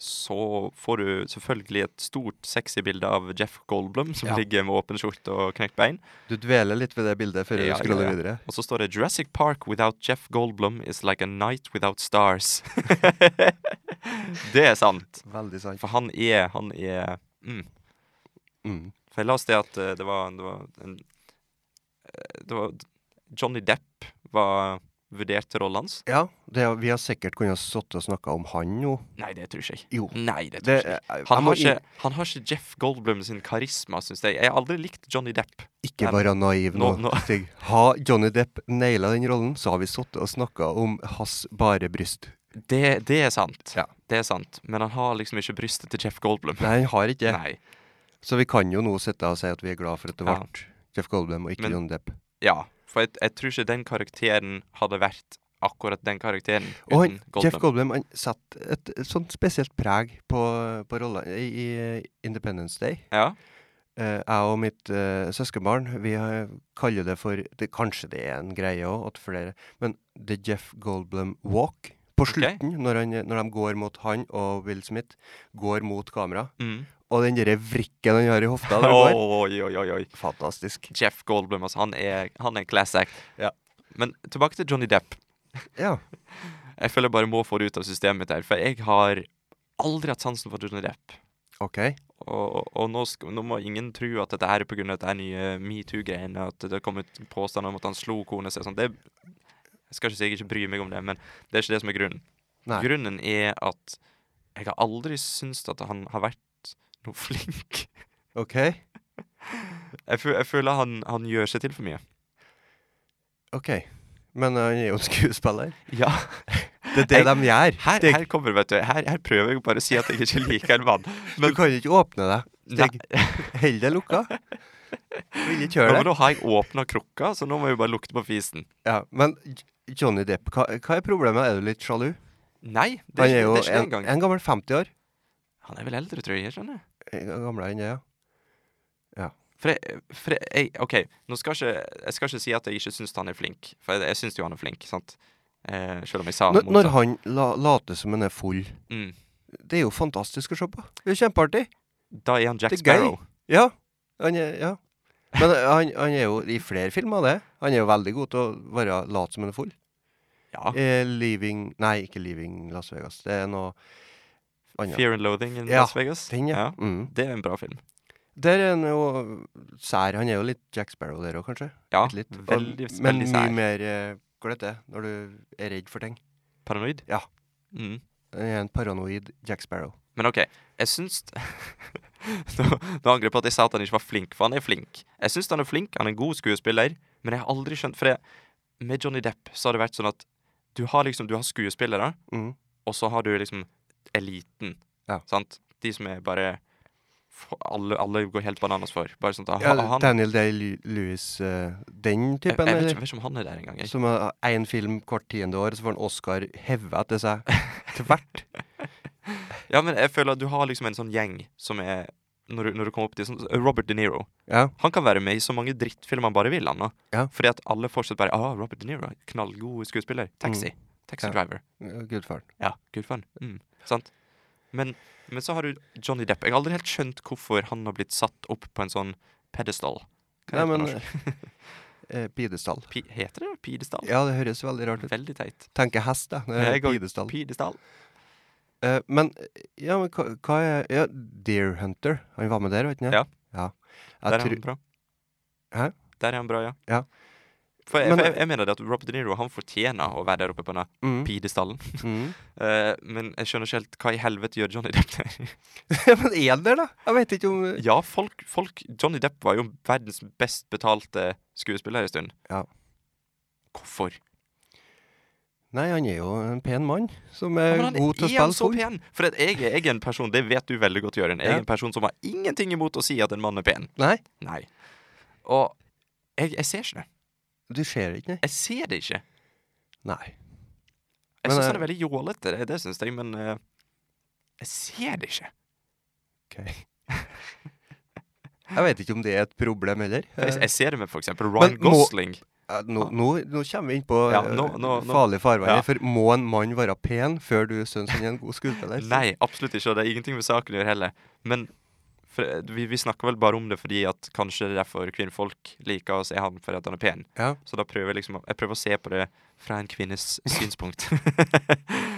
så får du selvfølgelig et stort sexy bilde av Jeff Goldblum, som
Ja.
ligger med åpen skjorte og knekt bein.
Du dveler litt ved det bildet før
Ja,
du scroller
ja, ja.
videre.
Og så står det 'Jurassic Park without Jeff Goldblum is like a night without stars'. det er sant.
Veldig sant.
For han er Han er mm.
Mm.
For jeg la oss det at eh, det var, det var en eh, Det var Johnny Depp var vurdert til rollen hans.
Ja, det, er- vi har sikkert kunnet sitte og snakke om han nå.
Nei, det tror ikke jeg.
Jo.
Nei, det tror
Det,
ikke jeg.
jeg, jeg
Han
må
har, ikke, han har ikke Jeff Goldblum sin karisma, syns jeg. Jeg har aldri likt Johnny Depp.
ikke være naiv nå.
Nå- nå-
Stig. Har Johnny Depp naila den rollen, så har vi sittet og snakka om hans bare bryst.
Det, det er sant.
Ja.
Det er sant. Men han har liksom ikke brystet til Jeff Goldblum.
Nei, han har ikke det.
Nei.
Så vi kan jo nå sitte og si at vi er glad for at det ble
Ja.
Jeff Goldblum og ikke
Men-
Johnny Depp.
Ja, for jeg, jeg tror ikke den karakteren hadde vært akkurat den karakteren uten
Og han, Jeff
Goldblum.
Goldblum han setter et, et sånt spesielt preg på, på rolla i, i Independence Day.
Ja.
Eh, jeg og mitt eh, søskenbarn vi eh, kaller det for det, Kanskje det er en greie òg, at flere Men The Jeff Goldblum Walk på
Ok.
slutten, når, han, når de går mot han og Will Smith, går mot kamera,
Mm.
og den derre vrikken han har i hofta der
oi,
går
oi, oi, oi.
Fantastisk.
Jeff Goldblum, altså. Han er, han er en class act.
Ja.
Men tilbake til Johnny Depp.
Ja.
Jeg føler jeg bare må få det ut av systemet mitt her, for jeg har aldri hatt sansen for Johnny Depp.
OK.
Og, og nå, sk- nå må ingen tro at dette her er pga. dette her nye metoo-greiene, at det har kommet påstander om at han slo kona si og sånn. Det- Jeg skal ikke si jeg ikke bryr meg om det, men det er ikke det som er grunnen.
Nei.
Grunnen er at jeg har aldri syntes at han har vært noe flink.
OK.
Jeg, fø- jeg føler han, han gjør seg til for mye.
ok. Men eh, han er jo en skuespiller.
Ja.
Det er det de
Jeg-
gjør.
Her,
Stig.
her kommer, vet du. Her, her prøver jeg bare å si at jeg ikke liker en mann.
Du kan ikke åpne deg.
Nei,
Stig, hold deg lukka. Vil ikke
nå,
høre
men
det.
nå har jeg åpna krukka, så nå må jeg bare lukte på fisen.
Ja, men Johnny Depp, hva, hva er problemet? Er du litt sjalu?
Nei, det er,
Han er
ikke-
jo
det er ikke det
en,
engang.
en gammel 50 år.
Han er vel eldre, tror jeg. skjønner jeg.
En gang Gamlere enn det, ja.
For, jeg, for jeg, jeg, OK, nå skal ikke, jeg skal ikke si at jeg ikke syns han er flink, for jeg, jeg syns jo han er flink, sant? Eh, selv om jeg sa
Når,
motsatt.
når han la, later som han er full,
Mm.
det er jo fantastisk å se på. Det er jo kjempeartig.
Da er han Jack
Det er gøy.
Sparrow.
Ja. Han er, ja. Men eh, han, han er jo i flere filmer, det. Han er jo veldig god til å være lat som han er full.
Ja.
Eh, leaving Nei, ikke Leaving Las Vegas. Det er noe annet.
Fear and Loathing in
Ja,
Las Vegas.
Den, ja.
Ja,
Mm.
Det er en bra film.
Der er han jo sær. Han er jo litt Jack Sparrow der òg, kanskje.
Ja,
Bitte litt. Og-
veldig,
men
veldig
mye
sær.
mer eh, gløtt, det, når du er redd for ting.
Paranoid?
Ja.
Mm.
Han er en paranoid Jack Sparrow.
Men OK, jeg syns Nå nå angrer jeg på at jeg sa at han ikke var flink, for han er flink. Jeg syns han er flink, han er en god skuespiller, men jeg har aldri skjønt For jeg, med Johnny Depp så har det vært sånn at du har liksom Du har skuespillere,
Mm.
og så har du liksom eliten.
Ja.
Sant? De som er bare f- alle, alle går helt bananas for. Bare sånn at
Ja,
ha- han,
Daniel Day-Lewis, eh, den typen,
jeg, jeg, vet ikke, jeg
eller?
vet ikke om han er der engang. jeg.
Som har én film hvert tiende år, så får han Oscar heva til seg til hvert.
Ja, men jeg føler at du har liksom en sånn gjeng som er når, du- når du kommer opp til sånn, Robert De Niro.
Ja.
Han kan være med i så mange drittfilmer han bare vil. han nå.
Ja.
Fordi at alle fortsatt bare ah, 'Robert De Niro, knallgod skuespiller. Taxi. Taxi
Mm. Ja.
driver.
Gudfaren.
Ja, good fun. Mm, sant? Men, men så har du Johnny Depp. Jeg har aldri helt skjønt hvorfor han har blitt satt opp på en sånn pedestal.
Nei,
Hva heter det
men
på norsk?
eh, Pidestall.
Pi heter det pedestal?
Ja, det høres veldig rart ut.
Veldig teit.
Tenker hest, da. når
Jeg
jeg
går-
hører Pidestall.
Pedestal.
Eh, men ja, men hva, hva er Ja, Deer Hunter. Han var med der, vet du?
Ja.
ja.
Der
Jeg
er
tror,
han bra.
Hæ?
Der er han bra, ja.
Ja.
For, jeg,
Men-
for jeg, jeg mener det at Robert De Niro han fortjener å være der oppe på den
mm,
pedestallen.
mm.
Eh, men jeg skjønner ikke helt hva i helvete gjør Johnny Depp der.
Men er han der, da? Jeg vet ikke om
ja, folk, folk Johnny Depp var jo verdens best betalte skuespiller en stund.
Ja.
Hvorfor?
Nei, han er jo en pen mann som
Ja,
er
men han
Eh, god til å
er
spille
så
fotball.
pen! For at jeg, er- jeg er en person, det vet du veldig godt, Jørgen. Jeg
Ja.
er en person som har ingenting imot å si at en mann er pen.
Nei,
Nei. Og jeg, jeg ser ikke det.
du ser ikke, nei.
Jeg ser det ikke.
Nei.
Jeg
Men,
syns han
eh,
er veldig jålete, det, det syns jeg, men eh, jeg ser det ikke.
Jeg vet ikke om det er et problem heller.
Jeg,
Eh,
jeg ser det med for eksempel Ryan
må-
Gosling.
eh, Nå, nå, nå kommer vi inn på
Ja,
eh,
nå- nå- nå-
farlige farveier.
Ja.
For må en mann være pen før du syns han er en god skuespiller?
Nei, absolutt ikke, og det er ingenting med saken å gjøre heller. Men for, eh, vi, vi snakker vel bare om det fordi at kanskje det er derfor kvinnfolk liker å se han fordi at han er pen.
Ja.
Så da prøver jeg liksom å- Jeg prøver å se på det fra en kvinnes synspunkt.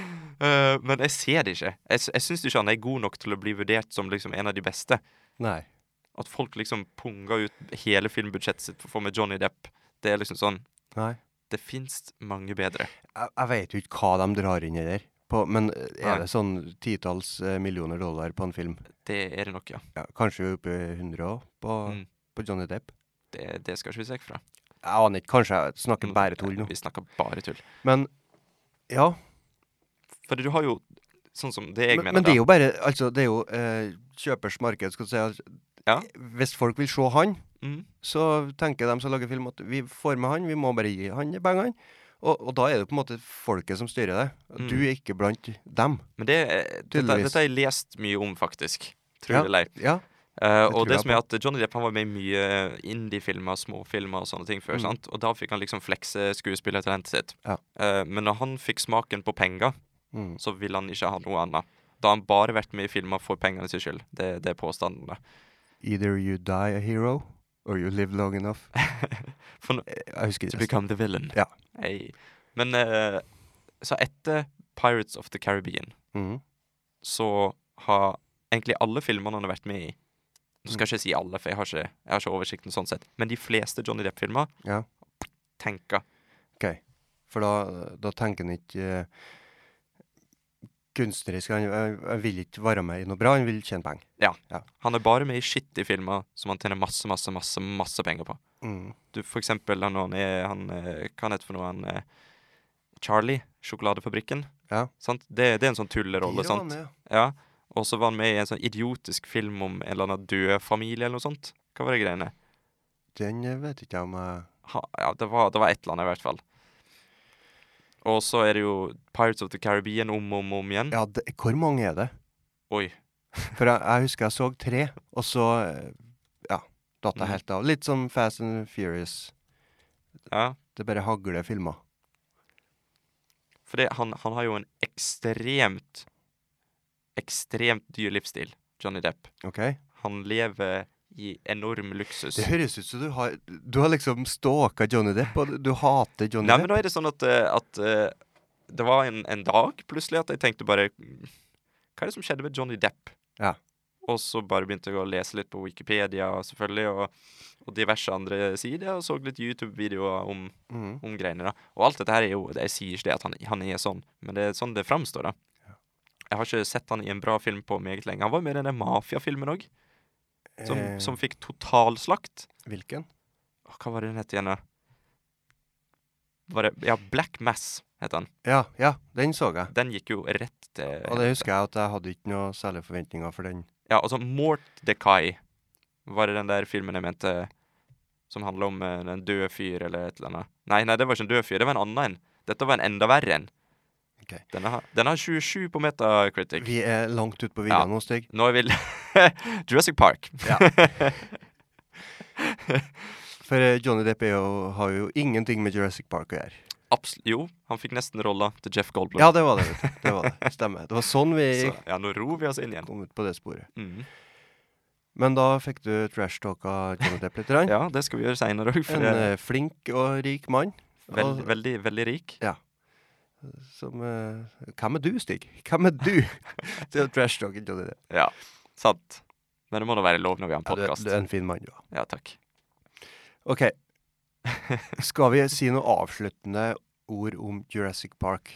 Eh, men jeg ser det ikke. Jeg, s- jeg syns ikke han er god nok til å bli vurdert som liksom en av de beste.
Nei.
At folk liksom punger ut hele filmbudsjettet sitt for å få med Johnny Depp, det er liksom sånn
Nei.
Det fins mange bedre.
Jeg, jeg vet jo ikke hva de drar inn i der. På, men eh,
Nei.
er det sånn titalls eh, millioner dollar på en film?
Det er det nok, ja.
Ja, kanskje oppe i 100 òg, på,
Mm.
på Johnny Depp?
Det, det skal ikke vi se vekk fra.
Jeg aner ikke. Kanskje jeg snakker
Nå-
bare tull
Nei,
nå.
Vi snakker bare tull.
Men ja.
For du har jo sånn som det jeg
men,
mener,
men det
da.
er jo bare Altså, det er jo eh, kjøpers marked, skal du si. Altså,
Ja.
Hvis folk vil se han,
Mm,
så tenker de som lager film at vi får med han, vi må bare gi han de pengene. Og, og da er det på en måte folket som styrer det.
Mm.
Du er ikke blant dem.
men det, eh, dette,
Tydeligvis.
dette har jeg lest mye om, faktisk. Tror
Ja.
det eller ei.
Ja.
Eh,
Det
og
tror
det
jeg
som er at Johnny Depp han var med i mye indie-filmer, småfilmer og sånne ting før.
Mm.
sant? Og da fikk han liksom flekse skuespillertalentet sitt.
Ja.
Eh, men når han fikk smaken på penger,
Mm.
så ville han ikke ha noe annet. Da har han bare vært med i filmer for pengene sin skyld. Det, det er påstandene.
Either you die a hero, or you live long enough.
For nå-
Jeg husker
to
ikke. resten.
become the villain.
Ja.
Hey. Men eh, så etter Pirates of the Caribbean
Mm.
så har egentlig alle filmene han har vært med i Nå
Mm.
skal jeg ikke si alle, for jeg har ikke, jeg har ikke oversikten sånn sett. Men de fleste Johnny Depp-filmer
Ja.
tenker
For da, da tenker han ikke eh, kunstnerisk. Han, han, han vil ikke være med i noe bra, han vil tjene penger.
Han er bare med i shitty filmer som han tjener masse, masse, masse masse penger på.
Mm.
Du, for eksempel han, han er han, eh, Hva han heter for noe? Han, eh, Charlie, Sjokoladefabrikken.
Ja.
Sant? Det, det er en sånn tullerolle.
De var
sant?
med, ja.
Ja. Og så var han med i en sånn idiotisk film om en eller annen død familie eller noe sånt. Hva var det greiene?
Den eh, vet ikke jeg om jeg
Ha, ja, det var, det var et eller annet i hvert fall. Og så er det jo Pirates of the Caribbean om og om, og om igjen.
Ja, det, hvor mange er det?
Oi.
For jeg, jeg husker jeg så tre, og så eh, Ja, datt
Mhm.
jeg helt av. Litt som Fast and Furious.
Ja.
Det bare hagler filmer.
For det, han, han har jo en ekstremt Ekstremt dyr livsstil, Johnny Depp.
OK?
Han lever i enorm luksus.
Det høres ut som du har Du har liksom stalka Johnny Depp, og du- du hater Johnny
Nei, men
Depp.
nå er det sånn at, eh, at eh, det var en, en dag plutselig at jeg tenkte bare "Mm, Hva er det som skjedde med Johnny Depp?
Ja.
Og så bare begynte jeg å lese litt på Wikipedia selvfølgelig, og, og diverse andre sider, og så litt YouTube-videoer om,
Mhm.
om greiene. da. Og alt dette her er jo Jeg sier ikke det at han, han er sånn, men det er sånn det framstår, da. Jeg har ikke sett han i en bra film på meget lenge. Han var jo med i denne mafiafilmen òg, som,
Eh,
som fikk totalslakt.
Hvilken?
Åh, Hva var det den het igjen, da? Var det, ja, Black Mass het han.
Ja, ja, den så jeg.
Den gikk jo rett til
Og det husker jeg at jeg hadde ikke noe særlige forventninger for den.
Ja, altså Mordecai var det den der filmen jeg mente som handler om eh, en død fyr eller et eller annet. Nei, nei, det var ikke en død fyr, det var en annen en. Dette var en enda verre en.
Ok.
Den har, den har 27 på Metacritic.
Vi er langt ute på vidda
Ja.
nå, Stig.
Nå er vi Jurassic Park.
Ja. For eh, Johnny Depp er jo, har jo ingenting med Jurassic Park å gjøre.
Abs jo, han fikk nesten rolla til Jeff Goldblum.
Ja, det var det. vet du. Det var det. Stemmer. Det var sånn vi
Så, ja, nå ror vi oss inn igjen.
kom ut på det sporet.
Mm.
Men da fikk du trash-talka Johnny Depp litt. grann.
Ja, det skal vi gjøre seinere òg, for
En
det er
eh, flink og rik mann.
veld,
og-
veldig, veldig rik.
Som eh, Hvem er du, Stig? Hvem er du? til å trash-talke Johnny Depp.
Ja, sant. Men det må da være lov når vi har en
Ja, du,
podkast.
du er en fin mann, du. da.
Ja, takk.
OK. Skal vi si noe avsluttende ord om Jurassic Park?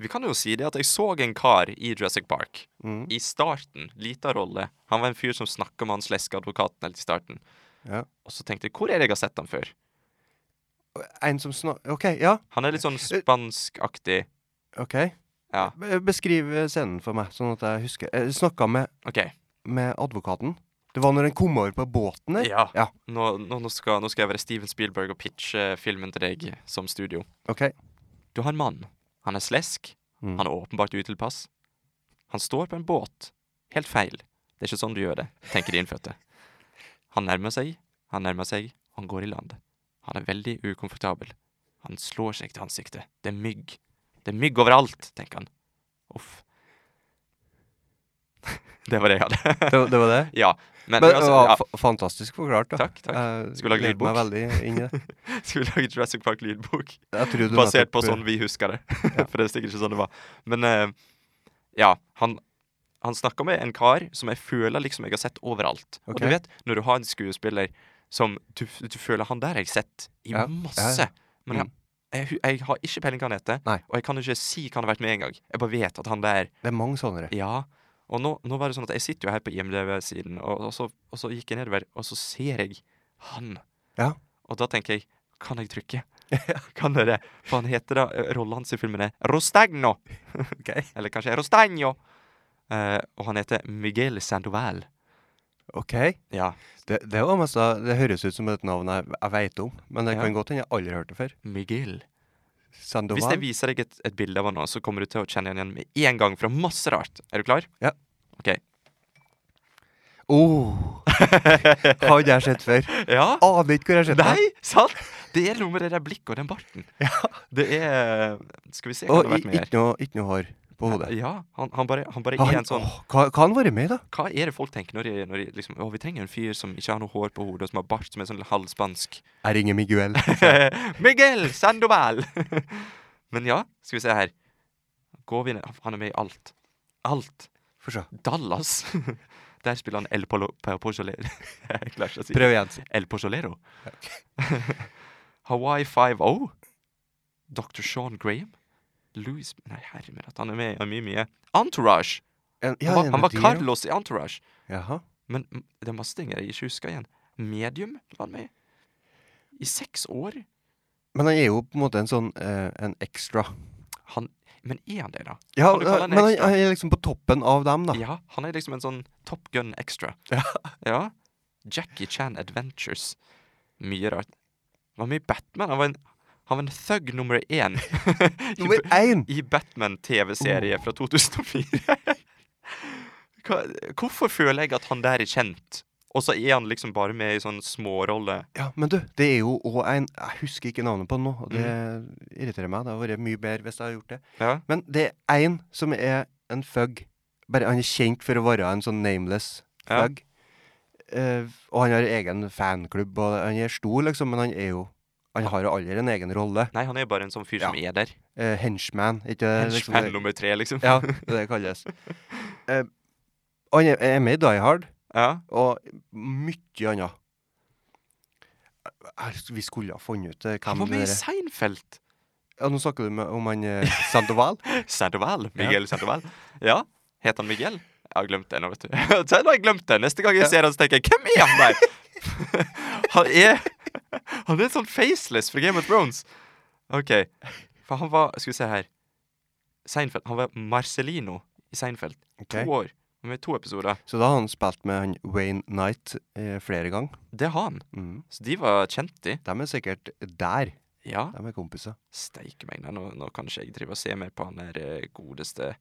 Vi kan jo si det at jeg så en kar i Jurassic Park.
Mm.
I starten, lita rolle. Han var en fyr som snakka med han sleskeadvokaten helt i starten.
Ja.
Og så tenkte jeg, hvor er det jeg har sett han før?
En som snak... OK, ja.
Han er litt sånn
Eh,
spanskaktig.
ok.
Ja.
Be- Beskriv eh, scenen for meg, sånn at jeg husker. Jeg snakka med,
OK.
med advokaten. Det var når den kom over på båten der?
Ja.
Ja.
Nå, nå, nå, skal, nå skal jeg være Steven Spielberg og pitche filmen til deg som studio.
OK.
Du har en mann. Han er slesk.
Mm.
Han er åpenbart utilpass. Han står på en båt. Helt feil. Det er ikke sånn du gjør det, tenker de innfødte. Han nærmer seg, han nærmer seg, han går i land. Han er veldig ukomfortabel. Han slår seg til ansiktet. Det er mygg. Det er mygg overalt, tenker han. Uff. Det var det jeg hadde.
Det, det var det?
Ja. Men,
Men det
altså,
var
ja.
fa- fantastisk forklart, da.
Takk, takk.
Jeg
Skulle lage
gleder meg veldig inn i det.
Skal vi lage Jurassic Park-lydbok?
Jeg tror du
Basert på
nettopp-
sånn vi husker det. For det er sikkert ikke sånn det var. Men eh, ja, han, han snakka med en kar som jeg føler liksom jeg har sett overalt. Og
Ok.
du vet, når du har en skuespiller som du, du føler Han der har jeg sett i
Ja, ja, ja.
masse.
Mm.
Men jeg, jeg, hu- jeg har ikke peiling hva han heter,
Nei.
og jeg kan ikke si hva han har vært med engang. Jeg bare vet at han der
Det er mange sånne.
Ja. Og nå, nå var det sånn at jeg sitter jo her på IMDv-siden, og, og, så- og så gikk jeg nedover, og så ser jeg han.
Ja.
Og da tenker jeg Kan jeg trykke? kan jeg det? For han heter da eh, Rollen hans i filmen er Rostagno. Eller kanskje Rostagno. Eh, og han heter Miguel Sandoval.
OK.
Ja.
Det, det, var mest, av- det høres ut som et navn jeg, jeg veit om, men det
Ja.
kan godt hende jeg aldri har hørt det før.
Miguel.
Sandoval?
Hvis jeg viser deg et, et bilde av han nå, så kommer du til å kjenne han igjen med en gang fra masse rart. Er du klar?
Ja.
OK.
Oh. Har ikke jeg sett før.
Ja.
Aner ikke hvor jeg har sett det.
Nei, sant? Det er noe med det der blikket og den barten. Ja. Det er Skal vi se hva
Og
det har
i-
vært med her.
ikke noe, ikke noe hår på hodet.
Ja, han, han bare, han bare
Har
er
han,
en sånn
åh, hva, hva har han vært med i, da?
Hva er det folk tenker når de, når de liksom Å, vi trenger en fyr som ikke har noe hår på hodet, og som har bart som er sånn halvspansk.
Jeg ringer Miguel.
Miguel Sandoval! Men ja, skal vi se her. Går vi ned Han er med i alt. Alt.
Få se.
Dallas. Der spiller han El Polo... Pojolero. Jeg klarer ikke å si det.
Prøv igjen. si.
El Pojolero. Hawaii 5-0. Dr. Sean Graham. Louis Nei, herre min, at han er med i mye, mye. Entourage!
En- ja,
Han var,
en
han var
av de, ja.
Carlos i Entourage.
Jaha.
Men m- det er masse ting jeg ikke husker igjen. Medium var han med i. I seks år.
Men han er jo på en måte en sånn eh, en ekstra.
Han, men er han det, da?
Ja,
Kan du kalle han
men han,
ekstra?
han er liksom på toppen av dem, da.
Ja, han er liksom en sånn Top Gun extra.
Ja.
Ja. Jackie Chan Adventures. Mye rart. Han var med i Batman. Han var en, han var en thug nummer én. I
Nummer én!
I Batman-TV-serie fra 2004. Hva, hvorfor føler jeg at han der er kjent, og så er han liksom bare med i sånn smårolle?
Ja, men du, det er jo òg en Jeg husker ikke navnet på den nå, og det irriterer meg. Det hadde vært mye bedre hvis jeg hadde gjort det.
Ja.
Men det er én som er en fug. Bare han er kjent for å være en sånn nameless
Ja.
fug. Eh, og han har egen fanklubb, og han er stor, liksom, men han er jo Han har jo aldri en egen rolle.
Nei, han er jo bare en sånn fyr som er der.
Eh, henchman, ikke det, liksom
Henchman nummer tre, liksom.
det? Ja, det er det det kalles. Eh, han er, er med i Die Hard,
Ja.
og mye annet. Jeg- Vi skulle ha funnet ut eh,
Han
hvem
var med i
det er.
Seinfeld.
Ja, nå snakker du med, om han eh, Sandoval.
Sandoval. Miguel Sandoval. Ja. Het han Miguel? Jeg har glemt det nå, vet du. Så nå har jeg glemt det. Neste gang jeg
Ja.
ser han, så tenker jeg Hvem er han der? han er Han er en sånn faceless fra Game of Thrones. OK. For han var Skal vi se her. Seinfeld. Han var Marcelino i Seinfeld.
Ok.
To år. Med to episoder.
Så da har han spilt med han Wayne Knight eh, flere ganger.
Det har han.
Mm.
Så de var kjent, de.
De er sikkert der.
Ja.
De er kompiser.
Steike meg, nei, nå, nå kan ikke jeg drive og se mer på han der eh, godeste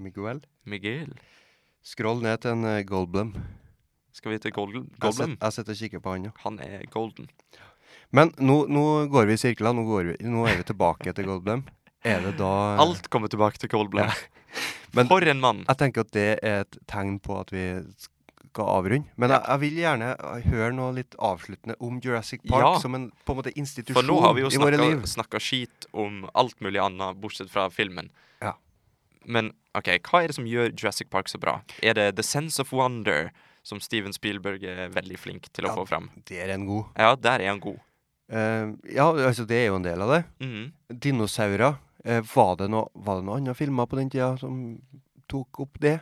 Miguel.
Miguel.
Skroll ned til en eh, Goldblum.
Skal vi til Golden?
Jeg set-
Goblin?
jeg sitter og kikker på han, ja.
Han er golden.
Men nå, nå går vi i sirkler. Nå, går vi, nå er vi tilbake til Goldblem. Er det da eh,
Alt kommer tilbake til Goldblum.
Men-
For en mann!
Jeg tenker at det er et tegn på at vi skal avrunde. Men jeg, jeg vil gjerne eh, høre noe litt avsluttende om Jurassic Park
Ja.
som en på en måte institusjon
For nå har vi jo
i våre liv.
snakka skit om alt mulig annet, bortsett fra filmen.
Ja.
Men ok, hva er det som gjør Jurassic Park så bra? Er det The Sense of Wonder, som Steven Spielberg er veldig flink til å
Ja.
få fram?
Det er en god.
Ja, der er han god.
Eh, ja, altså det er jo en del av det.
Mhm.
Dinosaurer. eh, var det noe- var det noen andre filmer på den tida som tok opp det?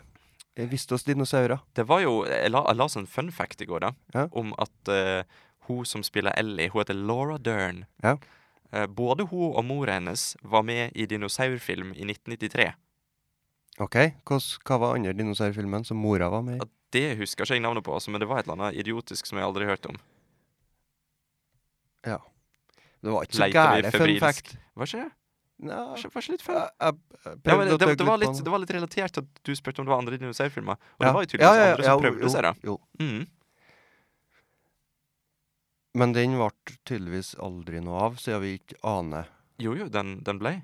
Eh, Visste oss dinosaurer?
Det var jo Jeg la, jeg la oss en fun fact i går, da,
Ja.
om at eh, hun som spiller Ellie, hun heter Laura Dern.
Ja.
Eh, både hun og mora hennes var med i dinosaurfilm i 1993.
OK. Hva, hva var andre dinosaurfilmen som mora var med i?
At det husker ikke jeg navnet på, altså, men det var et eller annet idiotisk som jeg aldri hørte om.
Det var ikke så
Leter vi
gære fun
febrilsk?
fact.
Var ikke det?
Nei,
Var ikke- var ikke litt fun?
jeg, jeg, jeg
Ja, men
prøvde å
det, det,
tygge litt på
var litt,
den.
det var litt relatert til at du spurte om det var andre dinosaurfilmer. Og
Ja.
det var jo tydeligvis
Ja, ja,
andre
ja,
som prøvde
jo,
seg, da.
Jo.
Mhm.
Men den ble tydeligvis aldri noe av, siden vi ikke aner.
Jo, jo, den, den ble.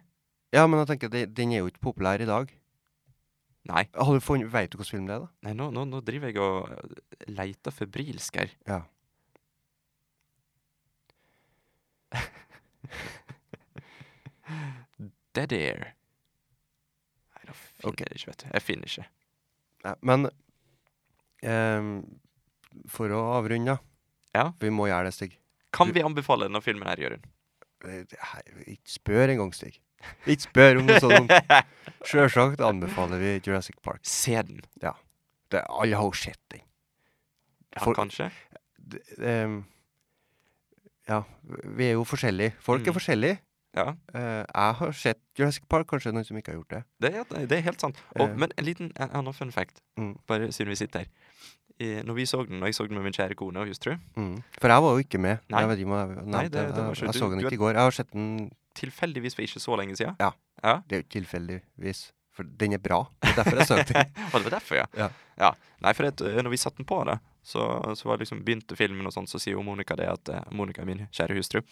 Ja, men jeg tenker, det- den er jo ikke populær i dag.
Nei,
Har du funnet, Vet du hvilken film det er, da?
nei nå, nå, nå driver jeg og eh, leter febrilsk her.
Ja.
Dead Air. Nei, nå finner
Ok.
jeg ikke, vet du. Jeg finner ikke.
Nei, men ehm, for å avrunde,
Ja.
Vi må gjøre det, Stig.
Kan vi anbefale denne filmen her, Jørund?
Eh, det- hei, Ikke spør engang, Stig. Ikke spør om noe sånt. Sjølsagt anbefaler vi Jurassic Park.
Se den.
Det, alle har jo sett den.
Ja,
For-
kanskje.
Det- ehm, ja, vi er jo forskjellige. Folk er
Mm.
forskjellige.
Ja.
Eh, jeg har sett Jurassic Park, kanskje noen som ikke har gjort det.
Det, er- det er helt sant. Og,
Eh.
Men en liten en annen fun fact,
Mm.
bare siden vi sitter her. I, når vi så den, og jeg så den med min kjære kone og hustru,
Mm. For jeg var jo ikke med.
Nei.
Jeg vet ikke om jeg nevnte
Nei, det-
Jeg,
det var ikke-
jeg
du-
så den
du
ikke i går. Jeg har sett den
tilfeldigvis for ikke så lenge siden
Det er jo ikke tilfeldigvis, for den er bra. Det er derfor jeg søkte. den.
Og det var derfor, ja.
Ja.
Nei, for at, eh, når vi satt den på, da, så, så var det liksom, begynte filmen, og sånn, så sier jo Monica det at eh, Monica er min kjære hustru.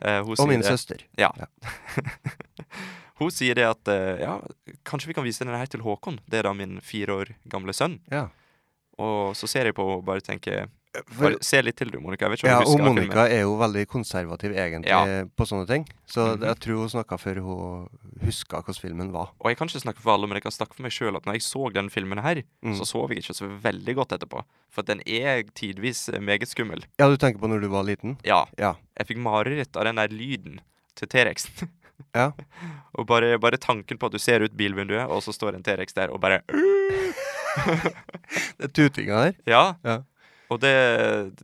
Eh, hun,
Og
sier
min
det,
søster.
hun sier det at eh, ja, kanskje vi kan vise denne her til Håkon. Det er da min fire år gamle sønn.
Ja.
Og så ser jeg på henne og bare tenker
For,
bare, Se litt til, du, Monica. Jeg vet ikke
ja,
om du
og
husker den filmen.
Monica er jo veldig konservativ egentlig
Ja.
på sånne ting, så
Mhm.
jeg tror hun snakka før hun huska hvordan filmen var.
Og jeg kan ikke snakke for alle, men jeg kan snakke for meg sjøl at når jeg så den filmen her,
Mm.
så sov jeg ikke så veldig godt etterpå. For at den er tidvis eh, meget skummel.
Ja, du tenker på når du var liten?
Ja.
Ja.
Jeg fikk mareritt av den der lyden til T-rexen.
Ja.
og bare, bare tanken på at du ser ut bilvinduet, og så står en T-rex der og bare
Det er tutinga der.
Ja.
Ja.
Og det,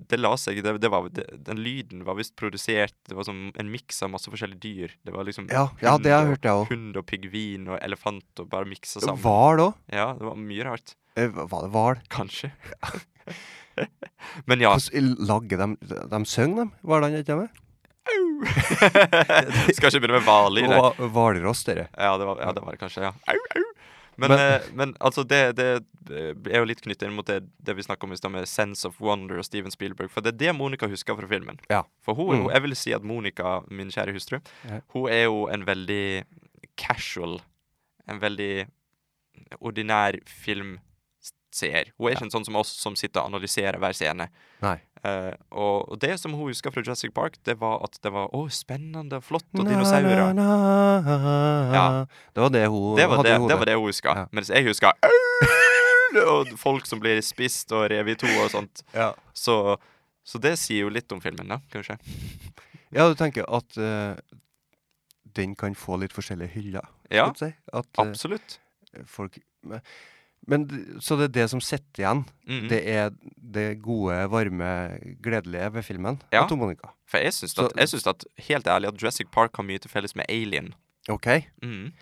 det la seg det, det var, det, Den lyden var visst produsert Det var som en miks av masse forskjellige dyr. Det var liksom
Ja, ja det har jeg
hund
hørt, jeg
og-
òg.
Hund og pingvin og elefant og bare miksa sammen.
Hval òg?
Ja, det var mye rart.
Var det hval?
Kanskje. Men ja.
Hvordan Lagger de De synger, de? Hvalene, ikke sant?
Skal ikke begynne med vanlig. det.
Og hva- Hvalross, dere.
Ja, det var, ja, det var det kanskje, ja. Au, au. Men, men,
Men-
men altså, det, det eh, er jo litt knyttet inn mot det, det vi snakket om i stad, med Sense of Wonder og Steven Spielberg. For det er det Monica husker fra filmen.
Ja.
For hun,
Mm.
hun, jeg vil si at Monica, min kjære hustru,
Ja.
hun er jo en veldig casual, en veldig ordinær filmseer. Hun er ikke en sånn som oss, som sitter og analyserer hver scene.
Nei.
Eh, og og det som hun husker fra Jurassic Park, det var at det var å, spennende og flott, og
Na, na,
dinosaurer.
na.
Ja.
Det var det hun
Det var
hadde
det,
i hodet.
det var det hun huska.
Ja.
Mens jeg huska «Au!» og folk som blir spist og revet i to og sånt.
Ja.
Så, så det sier jo litt om filmen, da, kanskje.
ja, du tenker at eh, den kan få litt forskjellige hyller.
Ja,
skal jeg si. At eh,
absolutt.
folk men, men d- Så det er det som sitter igjen.
Mhm.
Det er det gode, varme, gledelige ved filmen.
Ja.
Og Tom Monica.
For jeg syns,
så-
at, jeg syns at, helt ærlig, at Jurassic Park har mye til felles med Alien.
OK?
Mhm.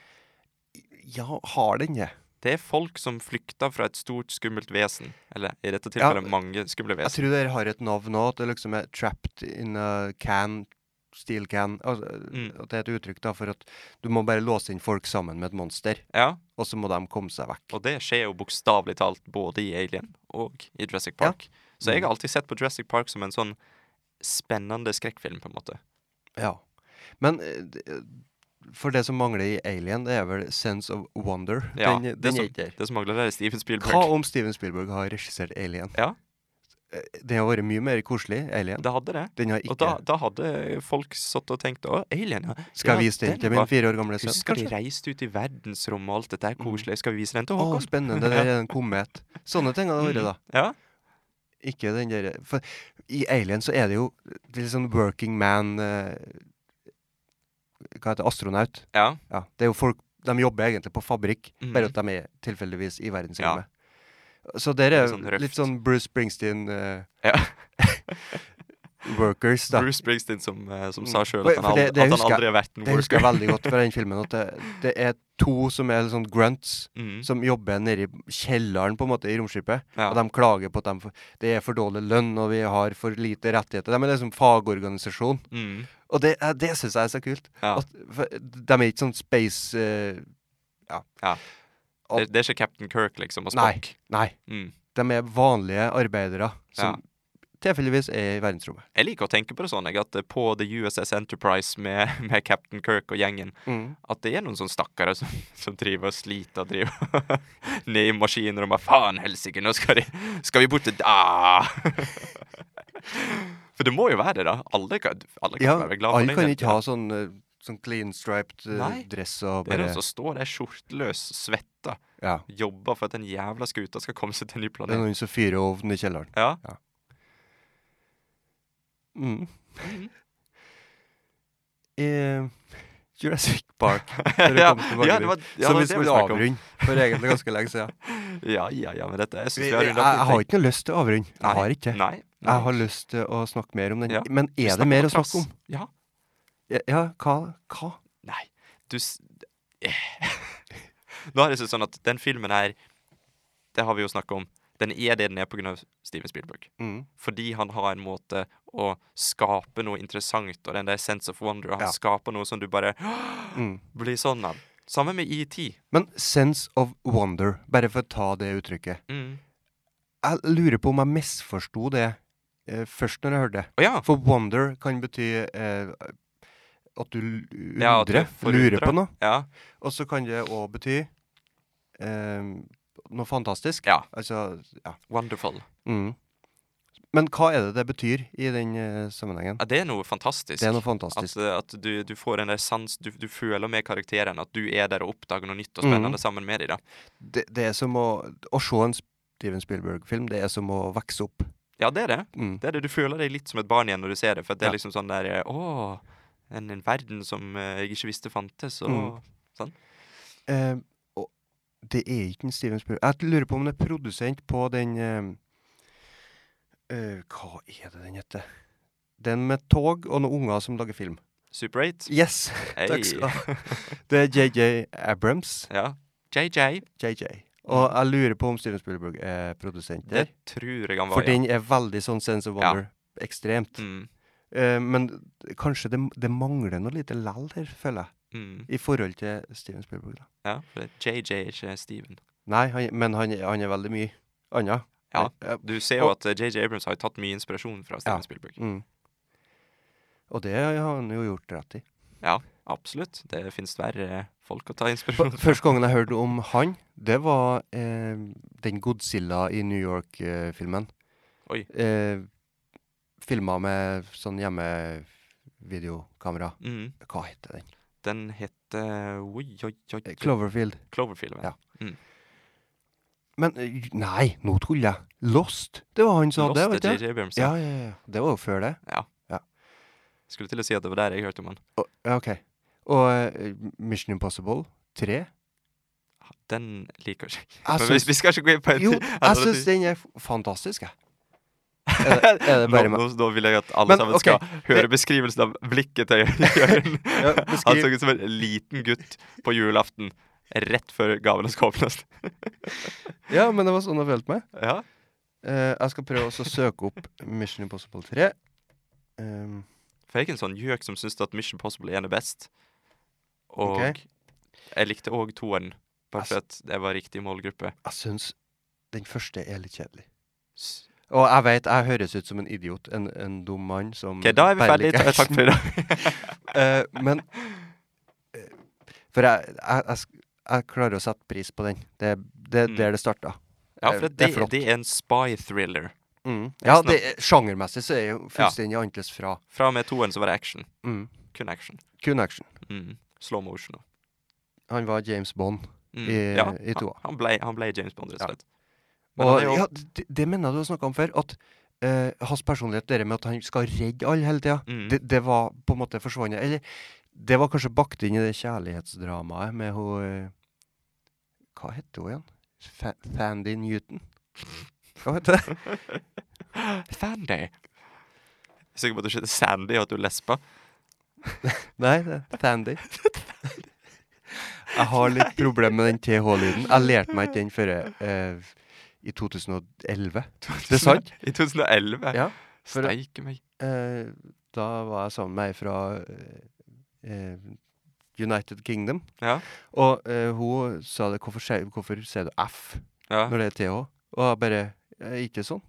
Ja, har den det?
Det er folk som flykter fra et stort, skummelt vesen. Eller i dette tilfellet mange skumle
Jeg
vesen.
tror dere har et navn òg, at det liksom er 'trapped in a can steel can. Altså,
Mm.
At det er et uttrykk da, for at du må bare låse inn folk sammen med et monster,
Ja,
og så må de komme seg vekk.
og det skjer jo bokstavelig talt både i Alien og i Jurassic
Ja. Mm.
Park. Så jeg har alltid sett på Jurassic Park som en sånn spennende skrekkfilm, på en måte.
Ja. Men eh, d- for det som mangler i Alien, det er vel sense of wonder.
Ja,
den
det,
den er
som,
ikke der.
det som mangler, er Steven Spielberg.
Hva om Steven Spielberg har regissert Alien?
Ja.
Eh, Det har vært mye mer koselig, Alien.
Det hadde det.
Den har
Og da,
ikke
da hadde folk satt og tenkt Å, Alien, ja.
Skal jeg
ja,
vise den til
var-
min fire år gamle sønn?
Husker de
kanskje?
reiste ut i verdensrommet og alt dette er koselig. Skal vi vise den til
Mm. Å,
Håkon?
spennende. Der er en komet. Sånne ting har det vært, da.
Ja.
Ikke den der For i Alien så er det jo det er litt sånn working man eh, Hva heter det? Astronaut.
ja.
Ja, det er jo folk De jobber egentlig på fabrikk,
Mhm.
bare at de er tilfeldigvis i verdensrommet. Så der
Det er
er
sånn røft.
litt sånn Bruce Springsteen eh,
Ja.
Workers, da. Mm.
Bruce Springsteen som, eh, som sa sjøl
Oi,
at han,
for
aldri,
det- det
at han
husker jeg-
aldri har vært en
Det husker
worker.
jeg veldig godt fra den filmen. At det, det er to som er sånn grunts,
Mm.
som jobber nede i kjelleren på en måte i romskipet.
Ja.
Og de klager på at de, får- det er for dårlig lønn, og vi har for lite rettigheter. De er liksom fagorganisasjon.
Mm.
Og det, er- det syns jeg er så kult.
Ja.
At, for, de er ikke sånn space eh,
Det, det er ikke Captain Kirk, liksom, og
Nei.
Spock.
Nei.
Mm.
De er vanlige arbeidere som tilfeldigvis er i verdensrommet.
Jeg liker å tenke på det sånn, jeg, at eh, på The USS Enterprise med, med Captain Kirk og gjengen, at det er noen sånne stakkare som, som driver og sliter og driver ned i maskiner og bare Faen helsike, nå skal, de, skal vi bort til ah! For det må jo være det, da. Alle kan, alle kan
Ja,
være glad for
alle
den
kan
jenta.
ikke ha sånn, eh, sånn clean striped eh,
Nei.
dress og
Det er sånn
bare
noen som står der skjorteløs, svetta,
ja.
jobber for at den jævla skuta skal komme seg til en ny
Det er
planet.
noen som fyrer ovnen i kjelleren.
Ja.
Mm. Eh, Jurassic Park, for å
ja,
komme tilbake
ja,
dit.
det var, ja,
som vi
det var det vi
skulle
snakket om.
avrunde for egentlig ganske lenge siden.
Ja, ja, ja, men dette Jeg synes
Jeg,
vi har
jeg,
rundet opp litt,
har ikke noe lyst til å avrunde.
Nei,
Jeg har ikke det.
Nei. nei.
Jeg har lyst til å snakke mer om den.
Ja,
Men
Vi
er
snakker
det mer
på
å snakke om?
plass. Ja.
Ja, ja hva? hva?
Nei, du s- Nå har jeg sett sånn at den filmen her Det har vi jo snakket om. Den er det den er pga. Steven Spielberg.
Mm.
Fordi han har en måte å skape noe interessant, og den der sense of wonder. Han
Ja.
skaper noe som du bare
Mm.
blir sånn av. Sammen med ET.
Men sense of wonder, bare for å ta det uttrykket.
Mm.
Jeg lurer på om jeg misforsto det eh, først når jeg hørte det.
Å ja.
For wonder kan bety eh, at du l-
Ja, at du
undrer,
forundrer.
lurer på noe.
ja.
Og så kan det òg bety eh, noe fantastisk.
Ja.
Altså ja.
Wonderful.
Mm. Men hva er det det betyr i den eh, sammenhengen?
Ja, det er noe fantastisk.
Det er noe
At,
fantastisk.
eh, at du, du får en der sans du, du føler med karakteren at du er der og oppdager noe nytt og
Mhm.
spennende sammen med dem. da.
Det, det er som å Å se en Steven Spielberg-film, det er som å vokse opp.
Ja, det er det.
Mm.
Det er det, Du føler deg litt som et barn igjen når du ser det. For at det
Ja.
er liksom sånn der eh, Å, en, en verden som eh, jeg ikke visste fantes. Og
Mm. Eh, og det er ikke en Steven Spielberg Jeg lurer på om det er produsent på den eh, eh, Hva er det den heter? Den med tog og noen unger som lager film.
Super 8.
Yes!
Hey.
Takk skal du ha. Det er JJ Abrams.
Ja. JJ.
JJ. Og jeg lurer på om Steven Spielberg er produsent
Det
der.
tror jeg han
For
var. ja.
den er veldig sånn sense of
Ja.
wonder. Ekstremt.
Mm.
Eh, men kanskje det, det mangler noe lite lell her, føler jeg.
Mm.
I forhold til Steven Spielberg. da.
Ja, for det- JJ er ikke Steven.
Nei, han, men han, han er veldig mye annet.
Ja.
Eh,
Du ser jo at eh, JJ Abrams har jo tatt mye inspirasjon fra Steven
Ja.
Spielberg.
Mm. Og det har han jo gjort rett i.
Absolutt. Det fins verre folk å ta
F-
inspirasjon fra.
Første gangen jeg hørte om han, det var eh, den Godzilla i New York-filmen.
Oi.
Eh, Filma med sånn hjemmevideokamera.
Mm.
Hva heter den?
Den heter oi, oi, oi,
Eh,
oi.
Cloverfield.
Cloverfield.
Ja.
Ja.
Men eh, j- nei, nå tuller jeg. Lost. Det var han som hadde det,
Lost
vet
er
du.
JJ Abrams.
Ja,
Ja.
ja, ja. Det var jo før det.
Skulle til å si at det var der jeg hørte om han.
Og, ja, OK. Og eh, Mission Impossible 3.
Den liker ikke jeg.
Jeg
Men
syns
vi, vi skal ikke gå inn på en
Altså, Jo,
til-
jeg
altså,
syns
det-
den er f- fantastisk, jeg. Er det, er det bare
nå,
meg?
nå, nå vil jeg at alle
Men,
sammen
ok,
skal høre beskrivelsen av blikket til Jørgen.
Ja,
Han så
beskriv.
ut som en liten gutt på julaften rett før gavene skal åpnes.
Ja, men det var sånn jeg følte meg.
Ja.
Eh, jeg skal prøve også å søke opp Mission Impossible 3. Ehm,
For jeg er ikke en sånn gjøk som syns at Mission Possible 1 er best. Og
Ok. Altså-
jeg likte òg toeren, bare for at det var riktig målgruppe.
Jeg syns den første er litt kjedelig.
S-
Og jeg vet, jeg høres ut som en idiot, en, en dum mann som
OK, da er vi
bare
ferdige.
liker
Ta- Takk
action.
for i dag.
Eh, men eh, For jeg, jeg, jeg, sk- jeg klarer å sette pris på den. Det er det,
Mm.
der det starta.
Ja,
Eh,
for
det er
det,
flott.
det er en spy-thriller.
Mm. Ja,
Resten av-
det, sjangermessig så er jo fullstendig annerledes fra
Fra og med toeren så var det action.
mm.
Kun action.
Kun action.
Mm. Slow motion. og-
Han var James Bond.
Mm.
I-
ja,
i toa.
han, han, ble, han ble James Bond, rett
Ja.
og slett. Men
Og
han er jo-
ja, det, det mener jeg du har snakka om før. At eh, hans personlighet, det der med at han skal redde alle hele tida,
Mm.
det, det var på en måte forsvunnet. Eller det var kanskje bakt inn i det kjærlighetsdramaet med hun eh, Hva heter hun igjen? Fa Fandy Newton? Hva heter det?
Sandy. Jeg er sikker på at du ikke heter Sandy, og at du lesber.
Nei, det er Fandy. Jeg har litt problemer med den TH-lyden. Jeg lærte meg ikke den før jeg, eh, i 2011. Det er sant.
I 2011.
Ja, for-
Steike meg.
Eh, da var jeg sammen med ei fra eh, eh, United Kingdom.
Ja.
Og eh, hun sa det hvorfor, sier- 'Hvorfor sier du F
Ja.
når det er TH?' Og jeg bare eh, 'Ikke sånn'.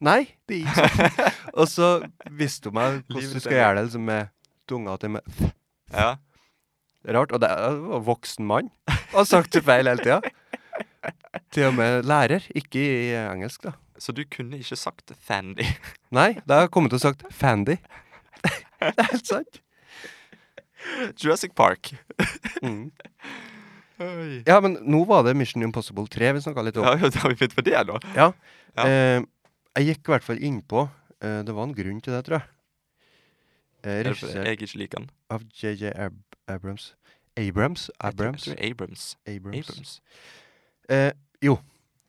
Nei, det er ikke sånn. og så visste hun meg hvordan
Livet
du skal
er-
gjøre det liksom, med tunga til med
ja.
Rart. Og det jeg var en voksen mann. Har sagt det feil hele tida. Til og med lærer. Ikke i eh, engelsk, da.
Så du kunne ikke sagt Sandy.
Nei, da har jeg kommet til å sagt Fandy. det er helt sant.
Jurassic Park.
Mm.
Oi.
Ja, men nå var det Mission Impossible 3 vi snakka litt om.
Ja, ja, da har vi begynt på det, da.
Ja.
Ja.
Eh, jeg gikk i hvert fall innpå eh, Det var en grunn til det, tror jeg. Eh,
Er det fordi
Regissert
Jeg ikke liker den.
av JJ Ab Abrams. Abrams?
Jeg tror-
Abrams?
Jeg tror Abrams.
Abrams.
Abrams.
Eh, jo,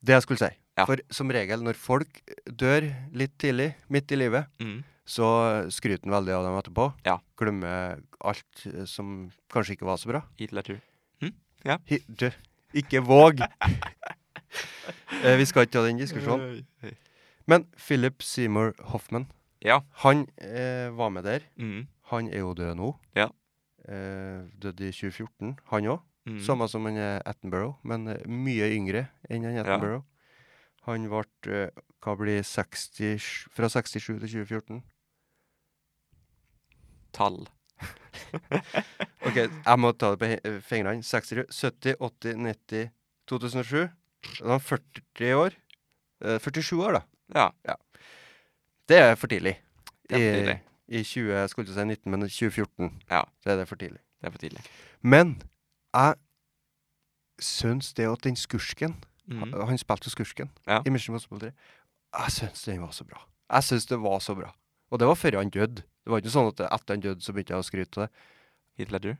det jeg skulle si.
Ja.
For som regel når folk dør litt tidlig, midt i livet,
Mm.
så skryter en veldig av dem etterpå.
Ja.
Glemmer alt eh, som kanskje ikke var så bra.
Heath Ledger.
Hi, du, ikke våg! eh, vi skal ikke ta den diskusjonen.
Oi, oi.
Men Philip Seymour Hoffman,
Ja.
han eh, var med der.
Mm.
Han er jo død nå.
Ja.
Eh, døde i 2014, han òg.
Mm.
Samme som han er Attenborough, men eh, mye yngre enn han Attenborough. Han ble eh, hva blir 60, fra 67 til 2014.
Tall.
OK, jeg må ta det på he- eh, fingrene. 60, 70, 80, 90, 2007. Da var han 40 år. Eh, 47 år, da.
Ja.
Det er for tidlig.
Det er for tidlig.
I, i 20, jeg skulle til å si 19, men i 2014
Ja.
så er det for tidlig.
Det er for tidlig.
Men jeg syns det at den skursken
Mm.
Han, han spilte jo skursken
Ja.
i Mission Impossible 3. Jeg syns den var så bra. Jeg syns det var så bra. Og det var før han døde. Det var ikke sånn at etter han døde, så begynte jeg å skryte av det.
Heath Ledger.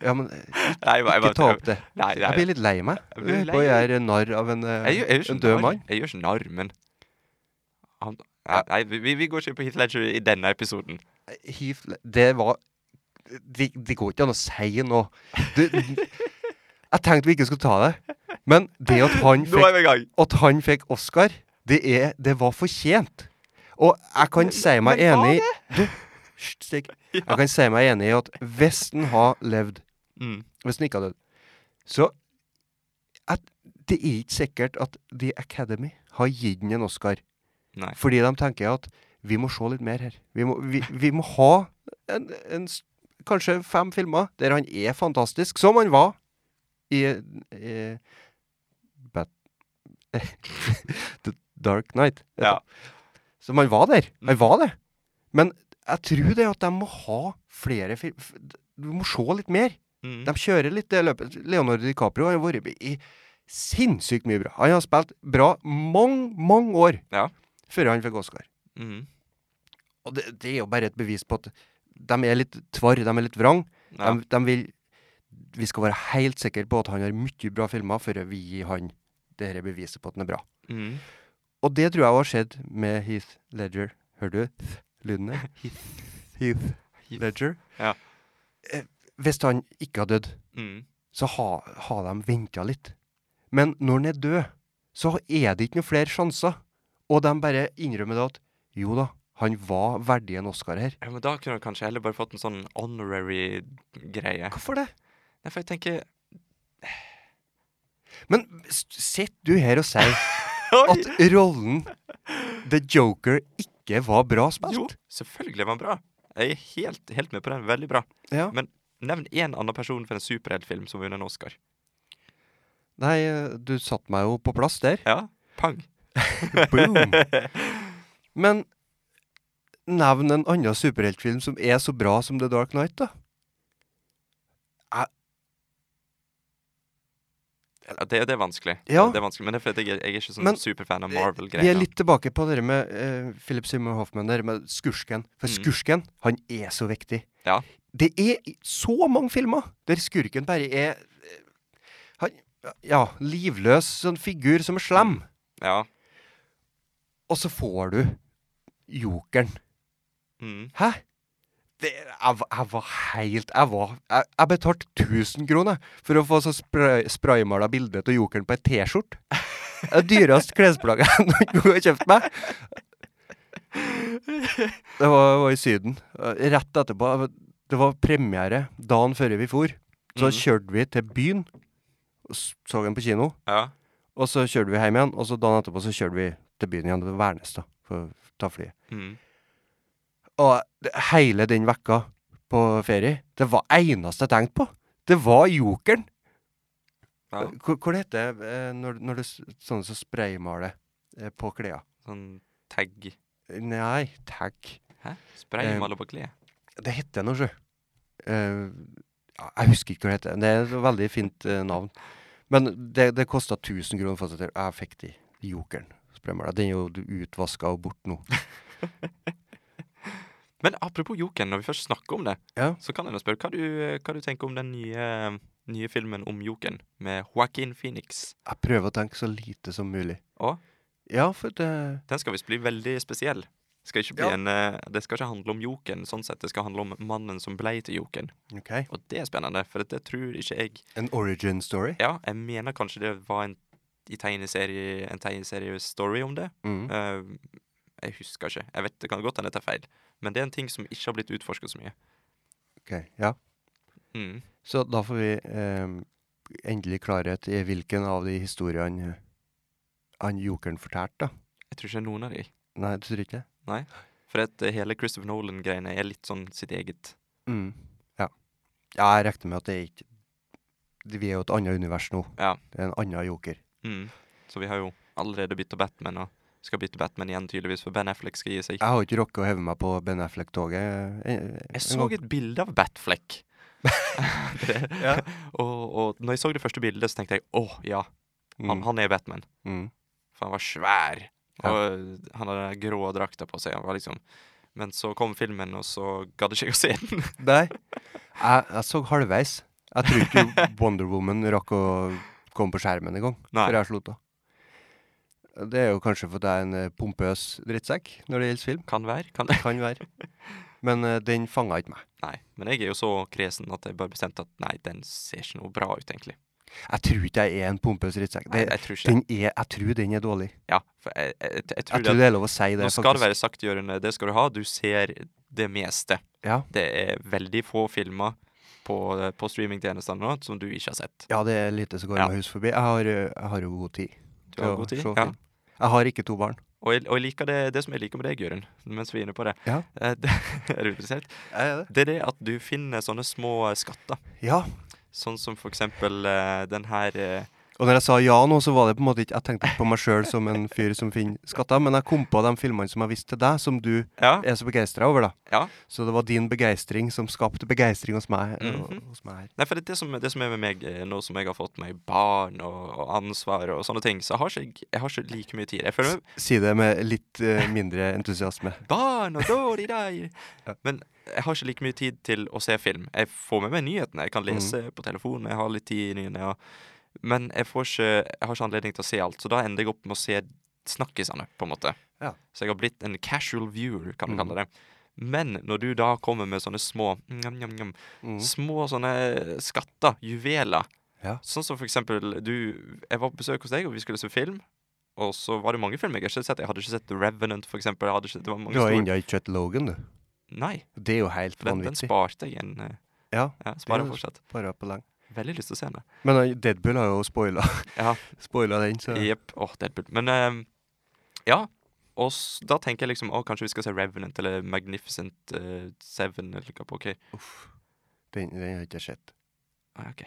Ja, men eh,
Nei, jeg,
ikke ta opp det.
Nei, nei.
Jeg blir litt lei meg.
Jeg blir
Jeg
lei
på å
meg.
gjøre narr av en, eh,
Jeg, gjør- sånn jeg gjør ikke
en død
narr.
mann.
Jeg gjør ikke narr, men han, Nei, nei, vi, vi går ikke på Heath Ledger i denne episoden.
Heath Le- Det var Det det går ikke an å si noe. Du, jeg tenkte vi ikke skulle ta det, men det at han
Nå er
fikk,
vi i gang!
at han fikk Oscar, det, er, det var fortjent. Og jeg kan si meg
men var
enig Du, hysj, stikk. Jeg kan si meg enig i at hvis han har levd,
Mm.
hvis han ikke har dødd, så at, Det er ikke sikkert at The Academy har gitt ham en Oscar.
Nei.
Fordi de tenker at vi må se litt mer her. Vi må, vi, vi må ha en, en, s- kanskje fem filmer der han er fantastisk, som han var i, i Bat The Dark Knight.
Ja.
Som han var der.
Mm.
Han var det. Men jeg tror det at de må ha flere film... Du må se litt mer.
Mm.
De kjører litt det løpet. Leonardo DiCaprio har jo vært i sinnssykt mye bra. Han har spilt bra mange, mange år
Ja.
før han fikk Oscar.
Mm.
Og det, det er jo bare et bevis på at de er litt tvarr, de er litt vrang.
Ja.
De, de vil Vi skal være helt sikre på at han har mye bra filmer før vi gir han det her beviset på at han er bra.
Mm.
Og det tror jeg har skjedd med Heath Ledger. Hører du lydene? Heath, Heath Ledger.
Ja.
Eh, Hvis han ikke har dødd,
Mm.
så har ha de venta litt. Men når han er død, så er det ikke noen flere sjanser. Og de bare innrømmer det at jo da, Han var verdig en Oscar her.
Ja, men da kunne du kanskje heller bare fått en sånn honorary greie.
Hvorfor det?
Nei, for jeg tenker
Men s- sitter du her og sier
Oi!
at rollen The Joker ikke var bra spilt?
Jo, selvfølgelig var han bra. Jeg er helt, helt med på den. Veldig bra.
Ja.
Men nevn én annen person for en superheltfilm som har vunnet en Oscar.
Nei, du satte meg jo på plass der.
Ja, pang.
Boom! Men nevn en annen superheltfilm som er så bra som The Dark Knight, da.
Ja, det, det er vanskelig.
Ja.
Det er vanskelig, Men det er fordi jeg, er- jeg er ikke sånn
Men,
superfan av
Vi er
Marvel-greier.
litt tilbake på det med eh, Philip Seymour Hoffman der med skurken. For
Mm.
skurken, han er så viktig.
Ja.
Det er i- så mange filmer der skurken bare er eh, han, Ja, livløs sånn figur som er slem.
Ja.
Og så får du jokeren.
Mm.
Hæ? Det, jeg, var- jeg var helt Jeg var Jeg, jeg betalte 1000 kroner for å få så spray, spraymala bilde av jokeren på ei T-skjorte. Det er det dyreste klesplagget jeg noen gang har kjøpt meg. Det var, var i Syden. Eh, Rett etterpå Det var premiere dagen før vi for. Så
Mhm.
kjørte vi til byen. og s- Så den på kino.
ja.
Og så kjørte vi hjem igjen. Og så dagen etterpå så kjørte vi til byen igjen, til Værnes, da, for å ta flyet.
Mm.
Og det- hele den vekka på ferie, det var eneste jeg tenkte på. Det var jokeren.
ja.
Hvor, hvor det heter det eh, når, når du s- sånn som spraymaler eh, på klær?
Sånn tag
Nei, tag.
Hæ? Spraymaler på klær?
Det heter noe, sjø. Eh, ja, jeg husker ikke hva det heter. Det er et veldig fint eh, navn. Men det, det kosta 1000 kroner for å sette Jeg fikk de. Jokeren. Spraymaler. Den er jo utvaska og bort nå.
Men apropos Jokeren, når vi først snakker om det,
Ja.
så kan jeg nå spørre hva du, hva du tenker om den nye, nye filmen om Jokeren med Joaquin Phoenix.
Jeg prøver å tenke så lite som mulig.
Å?
Ja, for eh, det
Den skal visst bli veldig spesiell. Skal ikke bli
Ja.
en, eh, det skal ikke handle om Jokeren, sånn sett. Det skal handle om mannen som blei til Jokeren.
OK.
Og det er spennende, for det tror ikke jeg
En origin story.
Ja, jeg mener kanskje det var en, i tegneserie, en tegneseriestory om det.
Mm.
Eh, jeg husker ikke. Jeg vet, Det kan godt hende jeg tar feil. Men det er en ting som ikke har blitt utforska så mye.
Ok, ja.
Mm.
Så da får vi ehm, endelig klarhet i hvilken av de historiene han jokeren fortalte, da.
Jeg tror ikke noen av de.
Nei, du tror ikke det?
For at eh, hele Christopher Nolan-greiene er litt sånn sitt eget.
Mm. Ja. ja. Jeg regner med at det er ikke det- Vi er jo et annet univers nå.
Ja.
Det er en annen joker.
Mm. Så vi har jo allerede bytta Batman, og skal bytte Batman igjen tydeligvis, for Ben Affleck skal gi seg.
Jeg har ikke rukket å heve meg på Ben Affleck-toget. eh, en- en
Jeg så
gang.
et bilde av Batfleck. det,
Ja.
og, og når jeg så det første bildet, så tenkte jeg åh, ja, han,
Mm.
han er Batman.
Mm.
For han var svær.
Ja.
Og han hadde den grå drakta på seg. Han var liksom Men så kom filmen, og så gadd ikke jeg å se den.
Nei. Jeg, jeg så halvveis. Jeg tror ikke Wonder Woman rakk å komme på skjermen engang.
Nei.
før jeg slo av. Det er jo kanskje fordi jeg er en eh, pompøs drittsekk når det gjelder film.
Kan være. Kan det.
Kan være. Men eh, den fanga ikke meg.
Nei. Men jeg er jo så kresen at jeg bare bestemte at nei, den ser ikke noe bra ut, egentlig.
Jeg tror ikke jeg er en pompøs drittsekk.
Nei,
Det,
jeg tror ikke det.
den er, jeg tror den er dårlig.
Ja, for jeg, jeg, jeg, jeg tror
Jeg tror
det.
det er lov å si
Nå
det.
skal det være sagt, Jørund, det skal du ha. Du ser det meste.
Ja.
Det er veldig få filmer på, på streamingtjenestene nå som du ikke har sett.
Ja, det er lite som går
Ja.
meg hus forbi. Jeg har, eh, jeg har jo god tid.
Du har
til å
god tid.
se
Ja.
film. Jeg har ikke to barn.
Og jeg, og jeg liker det, det som jeg liker med deg, Jørund, mens vi er inne på det.
Ja.
Eh, det er du interessert? Det er det at du finner sånne små eh, skatter.
Ja.
Sånn som for eksempel eh, den her eh,
Og når jeg sa ja nå, så var det på en måte ikke Jeg tenkte ikke på meg sjøl som en fyr som finner skatter, men jeg kom på de filmene som jeg viste til deg, som du
Ja.
er så begeistra over, da.
ja.
Så det var din begeistring som skapte begeistring hos meg. eh, og-
Mhm.
hos meg her.
Nei, for det, er det, som, det som er med meg eh, nå som jeg har fått meg barn og, og ansvar og sånne ting, så har ikke jeg, jeg har ikke like mye tid. Jeg føler meg
Si det med litt eh, mindre entusiasme.
barn og dårlig der.
Ja.
Men jeg har ikke like mye tid til å se film. Jeg får med meg nyhetene. Jeg kan
Mhm.
lese på telefonen, jeg har litt tid i nyhetene. Og, men jeg, får ikke, jeg har ikke anledning til å se alt, så da ender jeg opp med å se snakkisene, på en måte.
Ja.
Så jeg har blitt en casual viewer, kan vi
Mm.
kalle det. Men når du da kommer med sånne små njam, njam, njam,
Mm.
små sånne skatter, juveler.
Ja.
Sånn som for eksempel du Jeg var på besøk hos deg, og vi skulle se film. Og så var det mange filmer jeg ikke hadde sett. Jeg hadde ikke sett The Revenant, for eksempel. Jeg hadde ikke, det var mange
Du har
store-
ennå ikke sett Logan, du.
Nei,
Det er jo helt
for den, den
vanvittig.
sparte jeg en eh,
Ja,
Ja, sparer
jo-
fortsatt.
bare på lenge.
Veldig lyst til å se den.
Men eh, Deadpool har jo spoila,
Ja.
spoila den, så
Jepp. Åh, Deadpool. Men eh, ja. Og s- da tenker jeg liksom å, kanskje vi skal se Revenant eller Magnificent eh, Seven eller hva på. ok.
uff. Den, den har jeg ikke sett.
Ah, ok.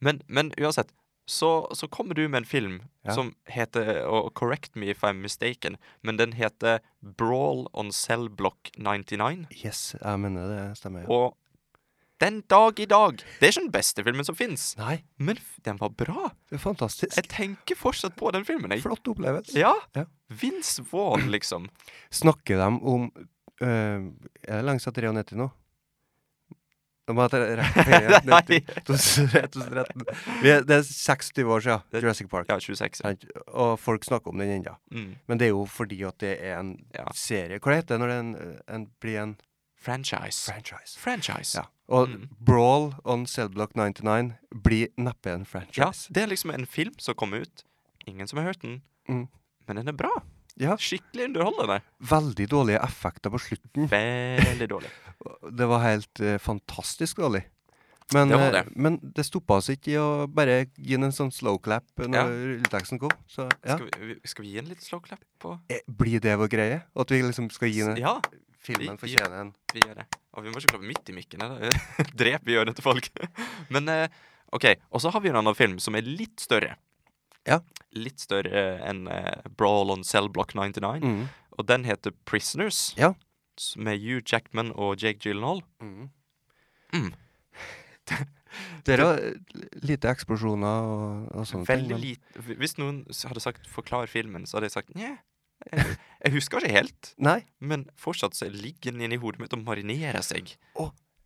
Men, men uansett, så, så kommer du med en film
Ja.
som heter og Correct me if I'm mistaken, men den heter Brawl on Cell Block 99.
Yes, jeg mener det stemmer. Ja.
Og den dag i dag Det er ikke den beste filmen som fins,
Nei,
men f- den var bra.
det er fantastisk.
Jeg tenker fortsatt på den filmen. Jeg.
Flott opplevelse.
Ja.
Ja.
Vince Vaughn, liksom.
Snakker de om øh, Er det langsatt 93 nå? Da må jeg ta rett på ferie.
Nei.
90, 2000, 2013. Vi er- Det er 26 år siden
Det-
Jurassic Park.
Ja, 26.
sant? Og folk snakker om den ennå.
Mm.
Men det er jo fordi at det er en
Ja.
serie. Hva heter det når det er en, en, blir en
Franchise.
franchise?
Franchise.
Ja.
Ja.
Og
Mm.
Brawl on Cellblock 99 blir neppe en franchise.
det er liksom en film som kom ut. Ingen som har hørt den,
Mm.
men den er bra.
Ja.
Skikkelig underholdende.
Veldig dårlige effekter på slutten.
Veldig dårlig.
Det var helt eh, fantastisk dårlig. Men
Det var
eh,
det.
men det stoppa oss ikke i å bare gi den en sånn slow clap når
Ja.
rulleteksten kom. Så ja.
Skal, vi, vi- skal vi gi en liten slow clap på
Eh, Blir det vår greie? At vi liksom skal gi den
Ja,
filmen
vi-
fortjene en
vi gjør det. Og vi må ikke klappe midt i mikken. Eller? Drep vi øret til folk. Men eh, OK. Og så har vi en annen film som er litt større.
Ja.
Litt større eh, enn eh, Brawl on Cell Block 99.
mm.
Og den heter Prisoners.
Ja.
s- Med Hugh Jackman og Jake Gyllenhaal.
Mm.
Mm.
Det er jo eh, lite eksplosjoner og, og sånne
Veldig
ting.
lite Hvis noen s- hadde sagt 'forklar filmen', så hadde jeg sagt 'njeh'. Jeg, jeg husker ikke helt,
Men, nei.
men fortsatt så ligger den inni hodet mitt og marinerer seg.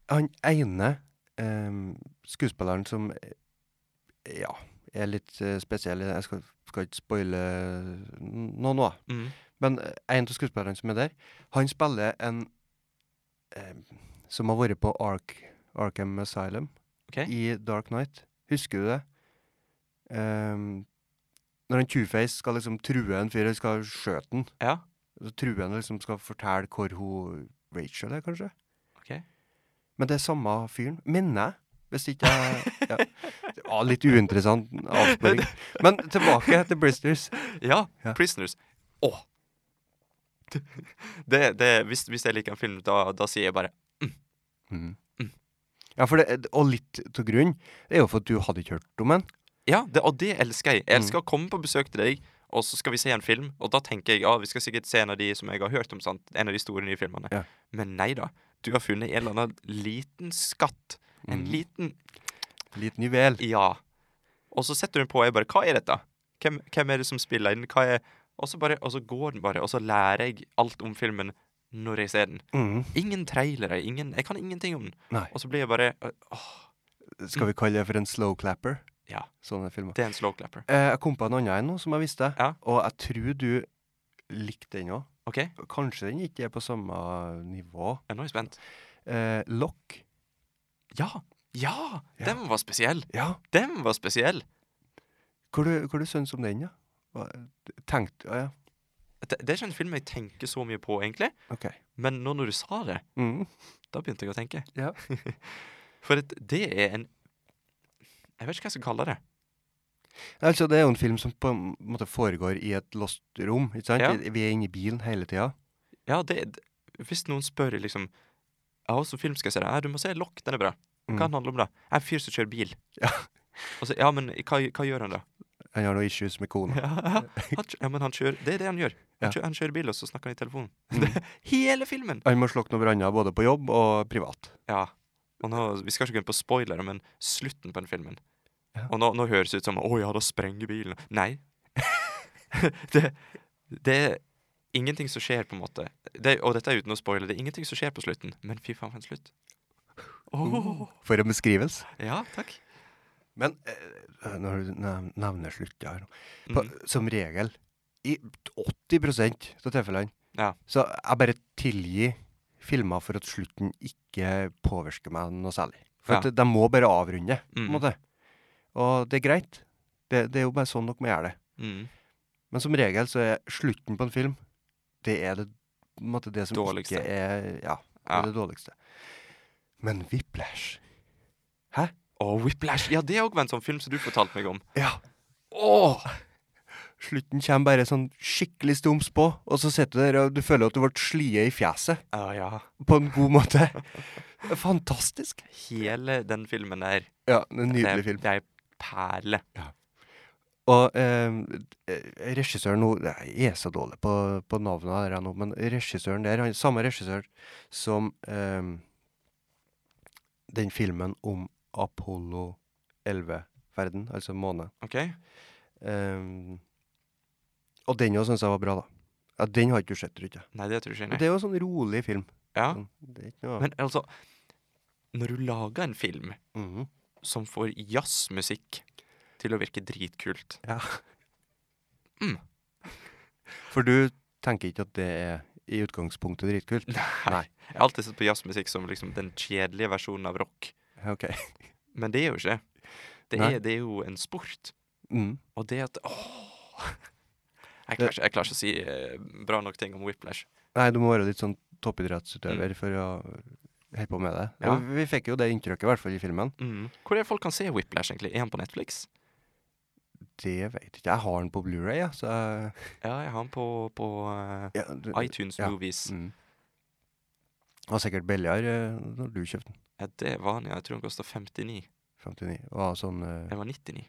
han ene em, skuespilleren som eh, ja, er litt eh, spesiell Jeg skal, skal ikke spoile n- noe nå,
Mm.
men eh, en av skuespillerne som er der, han spiller en em, som har vært på Ark, Arkham Asylum
Ok.
i Dark Knight. Husker du det? Em, når en Two-Face skal liksom true en fyr, eller skal skjøte den,
Ja.
så true en liksom skal fortelle hvor hun Rachel er, kanskje?
OK.
Men det er samme fyren, mener jeg. Hvis ikke jeg ja. Det var Litt uinteressant avsporing. Men tilbake til Bristers.
Ja,
Ja.
Prisoners. Å! Det, det, hvis, hvis jeg liker en film, da, da sier jeg bare
Mm.
Mm.
Ja, for det, og litt til grunn er jo for at du hadde ikke hørt om den.
Ja, det, og det elsker jeg. Jeg
Mm.
elsker å komme på besøk til deg, og så skal vi se en film. Og da tenker jeg ja, vi skal sikkert se en av de som jeg har hørt om, sant? en av de store nye filmene.
Ja.
Men nei da. Du har funnet en eller annen liten skatt. En
Mm.
liten
Liten juvel.
ja. Og så setter hun på, og jeg bare Hva er dette? Hvem, hvem er det som spiller inn? Hva er og så, bare, og så går den bare, og så lærer jeg alt om filmen når jeg ser den.
Mm.
Ingen trailere. Ingen, jeg kan ingenting om den.
Nei.
Og så blir jeg bare øh, Åh,
Skal vi kalle det for en slow clapper?
Ja.
Sånne filmer.
det er en slow clapper.
Eh, jeg kom på en annen en nå som jeg visste,
Ja.
og jeg tror du likte den òg.
OK, ja,
Kanskje den ikke er på samme nivå.
nå er jeg spent.
Eh, Lock.
Ja! Ja!
Ja.
Den var spesiell.
Ja.
Den var spesiell.
Hva du, hva du syns om den, ja? Hva- Tenkt Ja, ja.
Det, det er ikke en film jeg tenker så mye på, egentlig.
OK.
Men nå når du sa det,
Mm.
da begynte jeg å tenke.
Ja.
For det, det er en Jeg vet ikke hva jeg skal kalle det.
Altså, det er jo en film som på en måte foregår i et lost rom. ikke sant?
Ja.
I- Vi er inne i bilen hele tida.
Ja, det, det Hvis noen spør liksom Ja, hvilken film skal jeg se? Ja, du må se Lock, den er bra. Hva
Mm.
den handler om, da? Jeg er en fyr som kjører bil.
Ja.
Og så, ja, men hva, hva gjør han, da?
Han har noen issues med kona.
Ja, han, kjø- ja, men han kjører Det er det han gjør. Han,
Ja.
kjører, han kjører bil, og så snakker han i telefonen.
Mm.
Hele filmen!
Han må slokke noen branner både på jobb og privat.
Ja. Og nå, vi skal ikke gå inn på spoilere, men slutten på den filmen
Ja.
Og nå, nå høres det ut som 'Å ja, da sprenger bilen'. Nei. det, det er ingenting som skjer, på en måte. Det, og dette er uten å spoile. Det er ingenting som skjer på slutten, men fy faen, for en slutt. Åh.
For en beskrivelse.
Ja, takk.
Men eh, når du nev- nevner slutt her nå på,
Mm.
Som regel, i 80 av tilfellene,
Ja.
så jeg bare tilgir filmer for at slutten ikke påvirker meg noe særlig. For
Ja.
at de må bare avrunde, på
Mm.
en måte. Og det er greit. Det, det er jo bare sånn dere må gjøre det.
Mm.
Men som regel så er slutten på en film Det er det, på en måte, det som
Dårligste.
ikke er Ja, det
Ja.
er det dårligste. Men Whiplash
Å, Whiplash! Ja, det er òg en sånn film som du fortalte meg om.
Ja.
Åh!
Slutten kommer bare sånn skikkelig stums på, og så sitter du der og du føler at du ble slie i fjeset.
Ja, Ah, ja.
På en god måte. Fantastisk.
Hele den filmen der.
Ja, en
det er-
nydelig film.
Det er perle.
Og eh, eh, regissøren nå Jeg er så dårlig på, på navnet her nå, men regissøren der han, Samme regissør som eh, den filmen om Apollo 11-verden, altså måne.
OK?
Eh, og den òg syns jeg var bra, da. Ja, Den har ikke du sett, tror jeg.
Nei, det tror jeg
Og
ikke.
det er jo en sånn rolig film.
Ja.
Sånn, Det er ikke noe
Men altså, når du lager en film
Mhm.
som får jazzmusikk til å virke dritkult
For du tenker ikke at det er i utgangspunktet dritkult? Nei.
Jeg har alltid sett på jazzmusikk som liksom den kjedelige versjonen av rock.
OK.
Men det er jo ikke. Det
Nei.
er, det er jo en sport.
Mm.
Og det at Åh! Jeg klarer, ikke, jeg klarer ikke å si eh, bra nok ting om Whiplash.
Nei, du må være litt sånn toppidrettsutøver for å holde på med det.
Mm. Ja.
Og Vi fikk jo det inntrykket, i hvert fall i filmen.
Mm. Hvor er det folk kan se Whiplash, egentlig? Er han på Netflix?
Det vet jeg ikke. Jeg har den på Blu-ray, ja, så jeg-
Ja, jeg har han på, på eh,
ja, du-
iTunes
ja.
Movies.
Mm. Det var sikkert billigere eh, når du kjøpte den.
Ja, det var han, ja. Jeg tror han kosta 59.
59. Og hadde sånn eh,
Det var 99.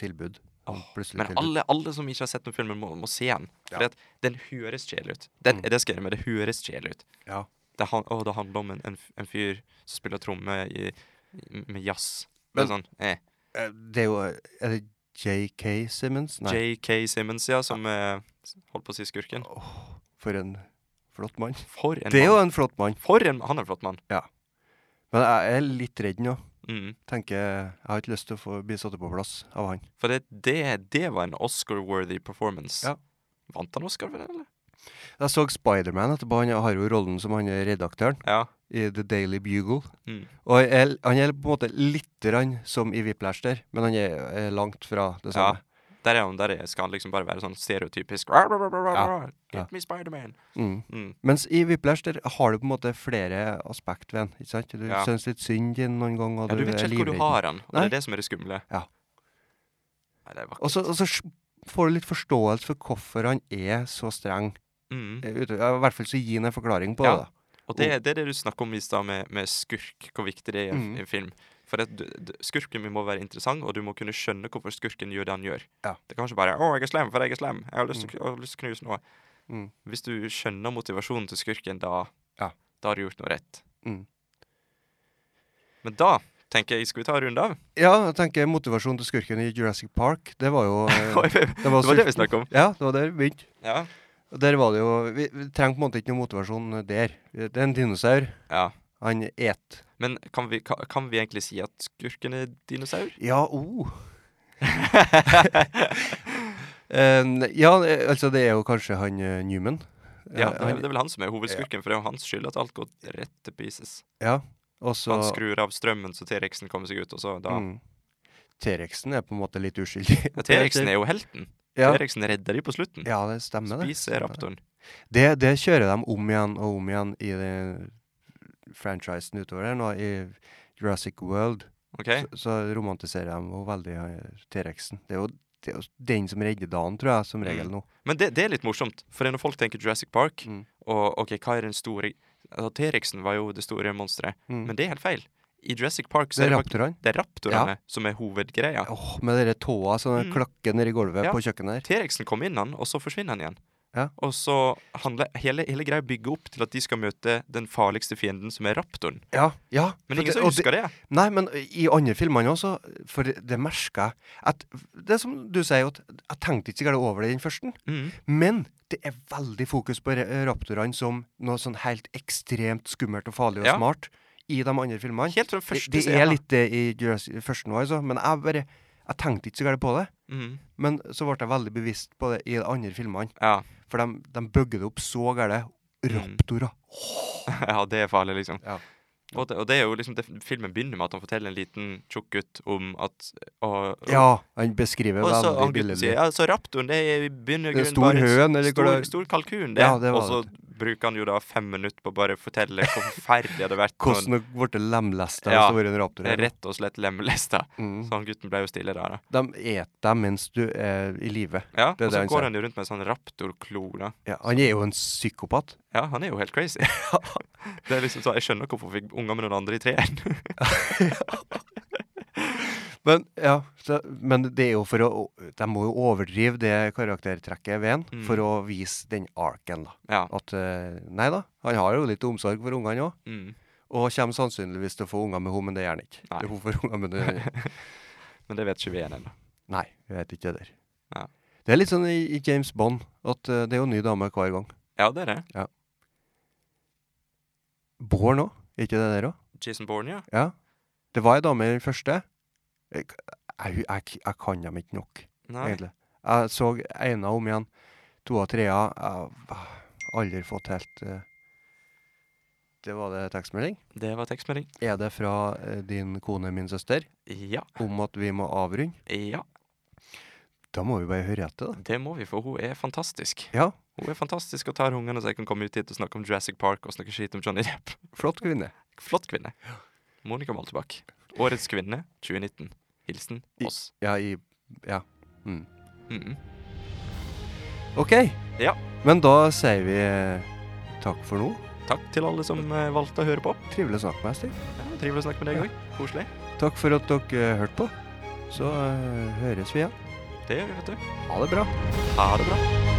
tilbud. Sånn
Åh,
plutselig
Men
tilbud.
alle, alle som ikke har sett den filmen, må, må se den. For at den høres kjedelig ut. Den,
Mm.
Det skal jeg gjøre med, det høres kjedelig ut.
Ja.
Det, han, å, det handler om en, en, f- en fyr som spiller tromme i, i- med jazz.
Men-
Men, sånn, eh.
Eh, Det er jo eh, Er det JK Simmons? Nei.
J.K. Simmons, ja, som eh, holdt på å si skurken.
Åh, for en flott mann.
For en
Det er jo
mann.
en flott mann.
For en, han er en flott mann.
Men jeg er litt redd nå.
Mm.
Tenker Jeg har ikke lyst til å få bli satt på plass av han.
For det, det, det var en Oscar-worthy performance.
Ja.
Vant han Oscar for det, eller?
Jeg så Spiderman etterpå. Han har jo rollen som han er redaktøren
Ja.
i The Daily Bugle.
Mm.
Og jeg, han er på en måte litt rann som i Whiplash der, men han er, er langt fra det
ja.
samme.
Der, er han, der er, skal han liksom bare være sånn stereotypisk "Rar, rar, rar, rar,
Ja.
rar.
Ja.
Get me Spiderman!
Mm.
Mm.
Mens i Whiplash der har du på en måte flere aspekt ved han. ikke sant? Du
Ja.
syns litt synd i den noen ganger. og
Ja, du
er
vet ikke helt hvor du
livredd.
har han, og det
Nei.
er det som er det skumle.
Ja.
Nei, det er vakkert.
Og så, og så s- får du litt forståelse for hvorfor han er så streng.
mm.
Eh, ute- ja, I hvert fall så gir han en forklaring på
Ja.
det. da.
Og det, det er det du snakker om i stad med, med skurk, hvor viktig det er i en,
Mm.
i en film. For at du, d- skurken min må være interessant, og du må kunne skjønne hvorfor skurken gjør det han gjør.
Ja.
Det kan ikke bare 'Å, jeg er slem, for jeg er slem. Jeg har lyst til å kn- jeg har lyst til å knuse noe.'
Mm.
Hvis du skjønner motivasjonen til skurken, da,
Ja.
da har du gjort noe rett.
Mm.
Men da tenker jeg Skal vi ta en runde av?
Ja, jeg tenker motivasjonen til skurken i Jurassic Park, det var jo eh,
Oi, det
var
var det vi
sulten.
snakka om.
Ja, det var der vi begynte.
Ja.
Og Der var det jo Vi, vi trenger på en måte ikke noe motivasjon der. Det er en dinosaur.
ja.
Han et.
Men kan vi, ka- kan vi egentlig si at skurken er dinosaur?
Ja, oh. Em, ja, eh, altså det er jo kanskje han eh, Newman. Eh,
Ja, det er,
han-
det er vel han som er hovedskurken, for det er jo hans skyld at alt går rett til pieces.
ja. Og så
Han skrur av strømmen så T-rexen kommer seg ut, og så da
mm. T-rexen er på en måte litt uskyldig.
ja, T-rexen er jo helten.
ja.
T-rexen redder de på slutten.
ja, det stemmer, det.
Spiser raptoren.
det. Det kjører de om igjen og om igjen i det franchisen utover her nå. I Jurassic World
OK?
så, så romantiserer de jo veldig eh, T-rexen. Det er jo det er jo den som redder dagen, tror jeg, som regel
Mm.
nå.
Men det, det er litt morsomt, for når folk tenker Jurassic Park,
Mm.
og OK, hva er den store altså, T-rexen var jo det store monsteret,
Mm.
men det er helt feil. I Jurassic Park så
det
er
er
det, faktisk,
raptorene.
det er raptorene som er hovedgreia.
Åh, med dere tåa som
Mm.
klakker nedi gulvet
Ja.
på kjøkkenet der.
T-rexen kommer inn, han, og så forsvinner han igjen.
Ja.
Og så handler hele, hele greia bygger opp til at de skal møte den farligste fienden, som er raptoren.
Ja, ja.
Men
for
ingen
det-
som
og det-
husker det.
Nei, men i andre filmene også, for det, det merker jeg at Det er som du sier, at jeg tenkte ikke så gærent over det i den første,
Mm.
men det er veldig fokus på ra- raptorene som noe sånn helt ekstremt skummelt og farlig og
Ja.
smart i de andre filmene.
Helt fra den
Det,
første
det er
scenen.
litt det i Jurassic- førsten òg, altså, men jeg bare Jeg tenkte ikke så gærent på det.
Mm.
Men så ble jeg veldig bevisst på det i de andre filmene,
Ja.
for de, de bygger det opp så gærent.
Mm.
Raptorer.
ja, det er farlig, liksom.
Ja.
Og det, og det er jo liksom det, Filmen begynner med at han forteller en liten tjukk gutt om at og,
Ja, han beskriver
Og så
veldig
han gutten
billedlig.
sier ja, så raptoren det er i
Det er
bunnegrunnen
stor høn, eller hva
stor,
det-
stor kalkun, det.
Ja, det var
og så bruker han jo da fem minutter på å bare fortelle hvor forferdelig det hadde vært. når
Hvordan det ble lemlesta hvis
Ja,
det var en raptor
det er
her.
rett og slett lemlesta.
Mm.
Så han gutten ble jo stille der, da.
De et deg mens du er i live.
Ja,
Det er det
og så
han sier.
går han jo rundt med en sånn raptorklo, da.
Ja, han er jo en psykopat.
Ja, han er jo helt crazy. det er liksom så, Jeg skjønner hvorfor fikk unger med noen andre i treeren.
Men, ja, så, men det er jo for å De må jo overdrive det karaktertrekket ved han
Mm.
for å vise den arken, da.
ja.
At eh, Nei da, han har jo litt omsorg for ungene òg.
Mm.
Og kommer sannsynligvis til å få unger med henne, men det gjør han ikke.
Nei.
Det er hun får unger med det.
Men det vet ikke vi igjen ennå.
Nei, jeg vet ikke heller.
Ja.
Det er litt sånn i, i James Bond at eh, det er jo en ny dame hver gang.
Ja, det er det.
Born òg, er ikke det der òg?
Jason Bourne, ja.
Ja. Det var ei dame i den første. Jeg, jeg, jeg, jeg kan dem ikke nok,
Nei.
egentlig. Jeg så ena om igjen. To av trea. Jeg har aldri fått helt eh. Det var det tekstmelding.
Det var tekstmelding.
Er det fra eh, din kone, min søster,
Ja.
om at vi må avrunde?
Ja.
Da må vi bare høre etter, da.
Det må vi, for hun er fantastisk.
Ja,
Hun er fantastisk og tar ungene, så jeg kan komme ut hit og snakke om Jurassic Park og snakke skit om Johnny Depp.
flott kvinne.
Flott kvinne. Monica Moltebakk. Årets kvinne 2019. Hilsen
I-
oss.
Ja, i Ja. Mm.
Mm -mm.
OK.
Ja.
Men da sier vi eh, takk for nå.
Takk til alle som eh, valgte å høre på.
Trivelig å snakke med deg, Stig.
Ja, trivelig å snakke med deg òg. Koselig.
Takk for at dere hørte på. Så eh, høres vi igjen.
Det gjør vi, vet du.
Ha det bra.
Ha det bra.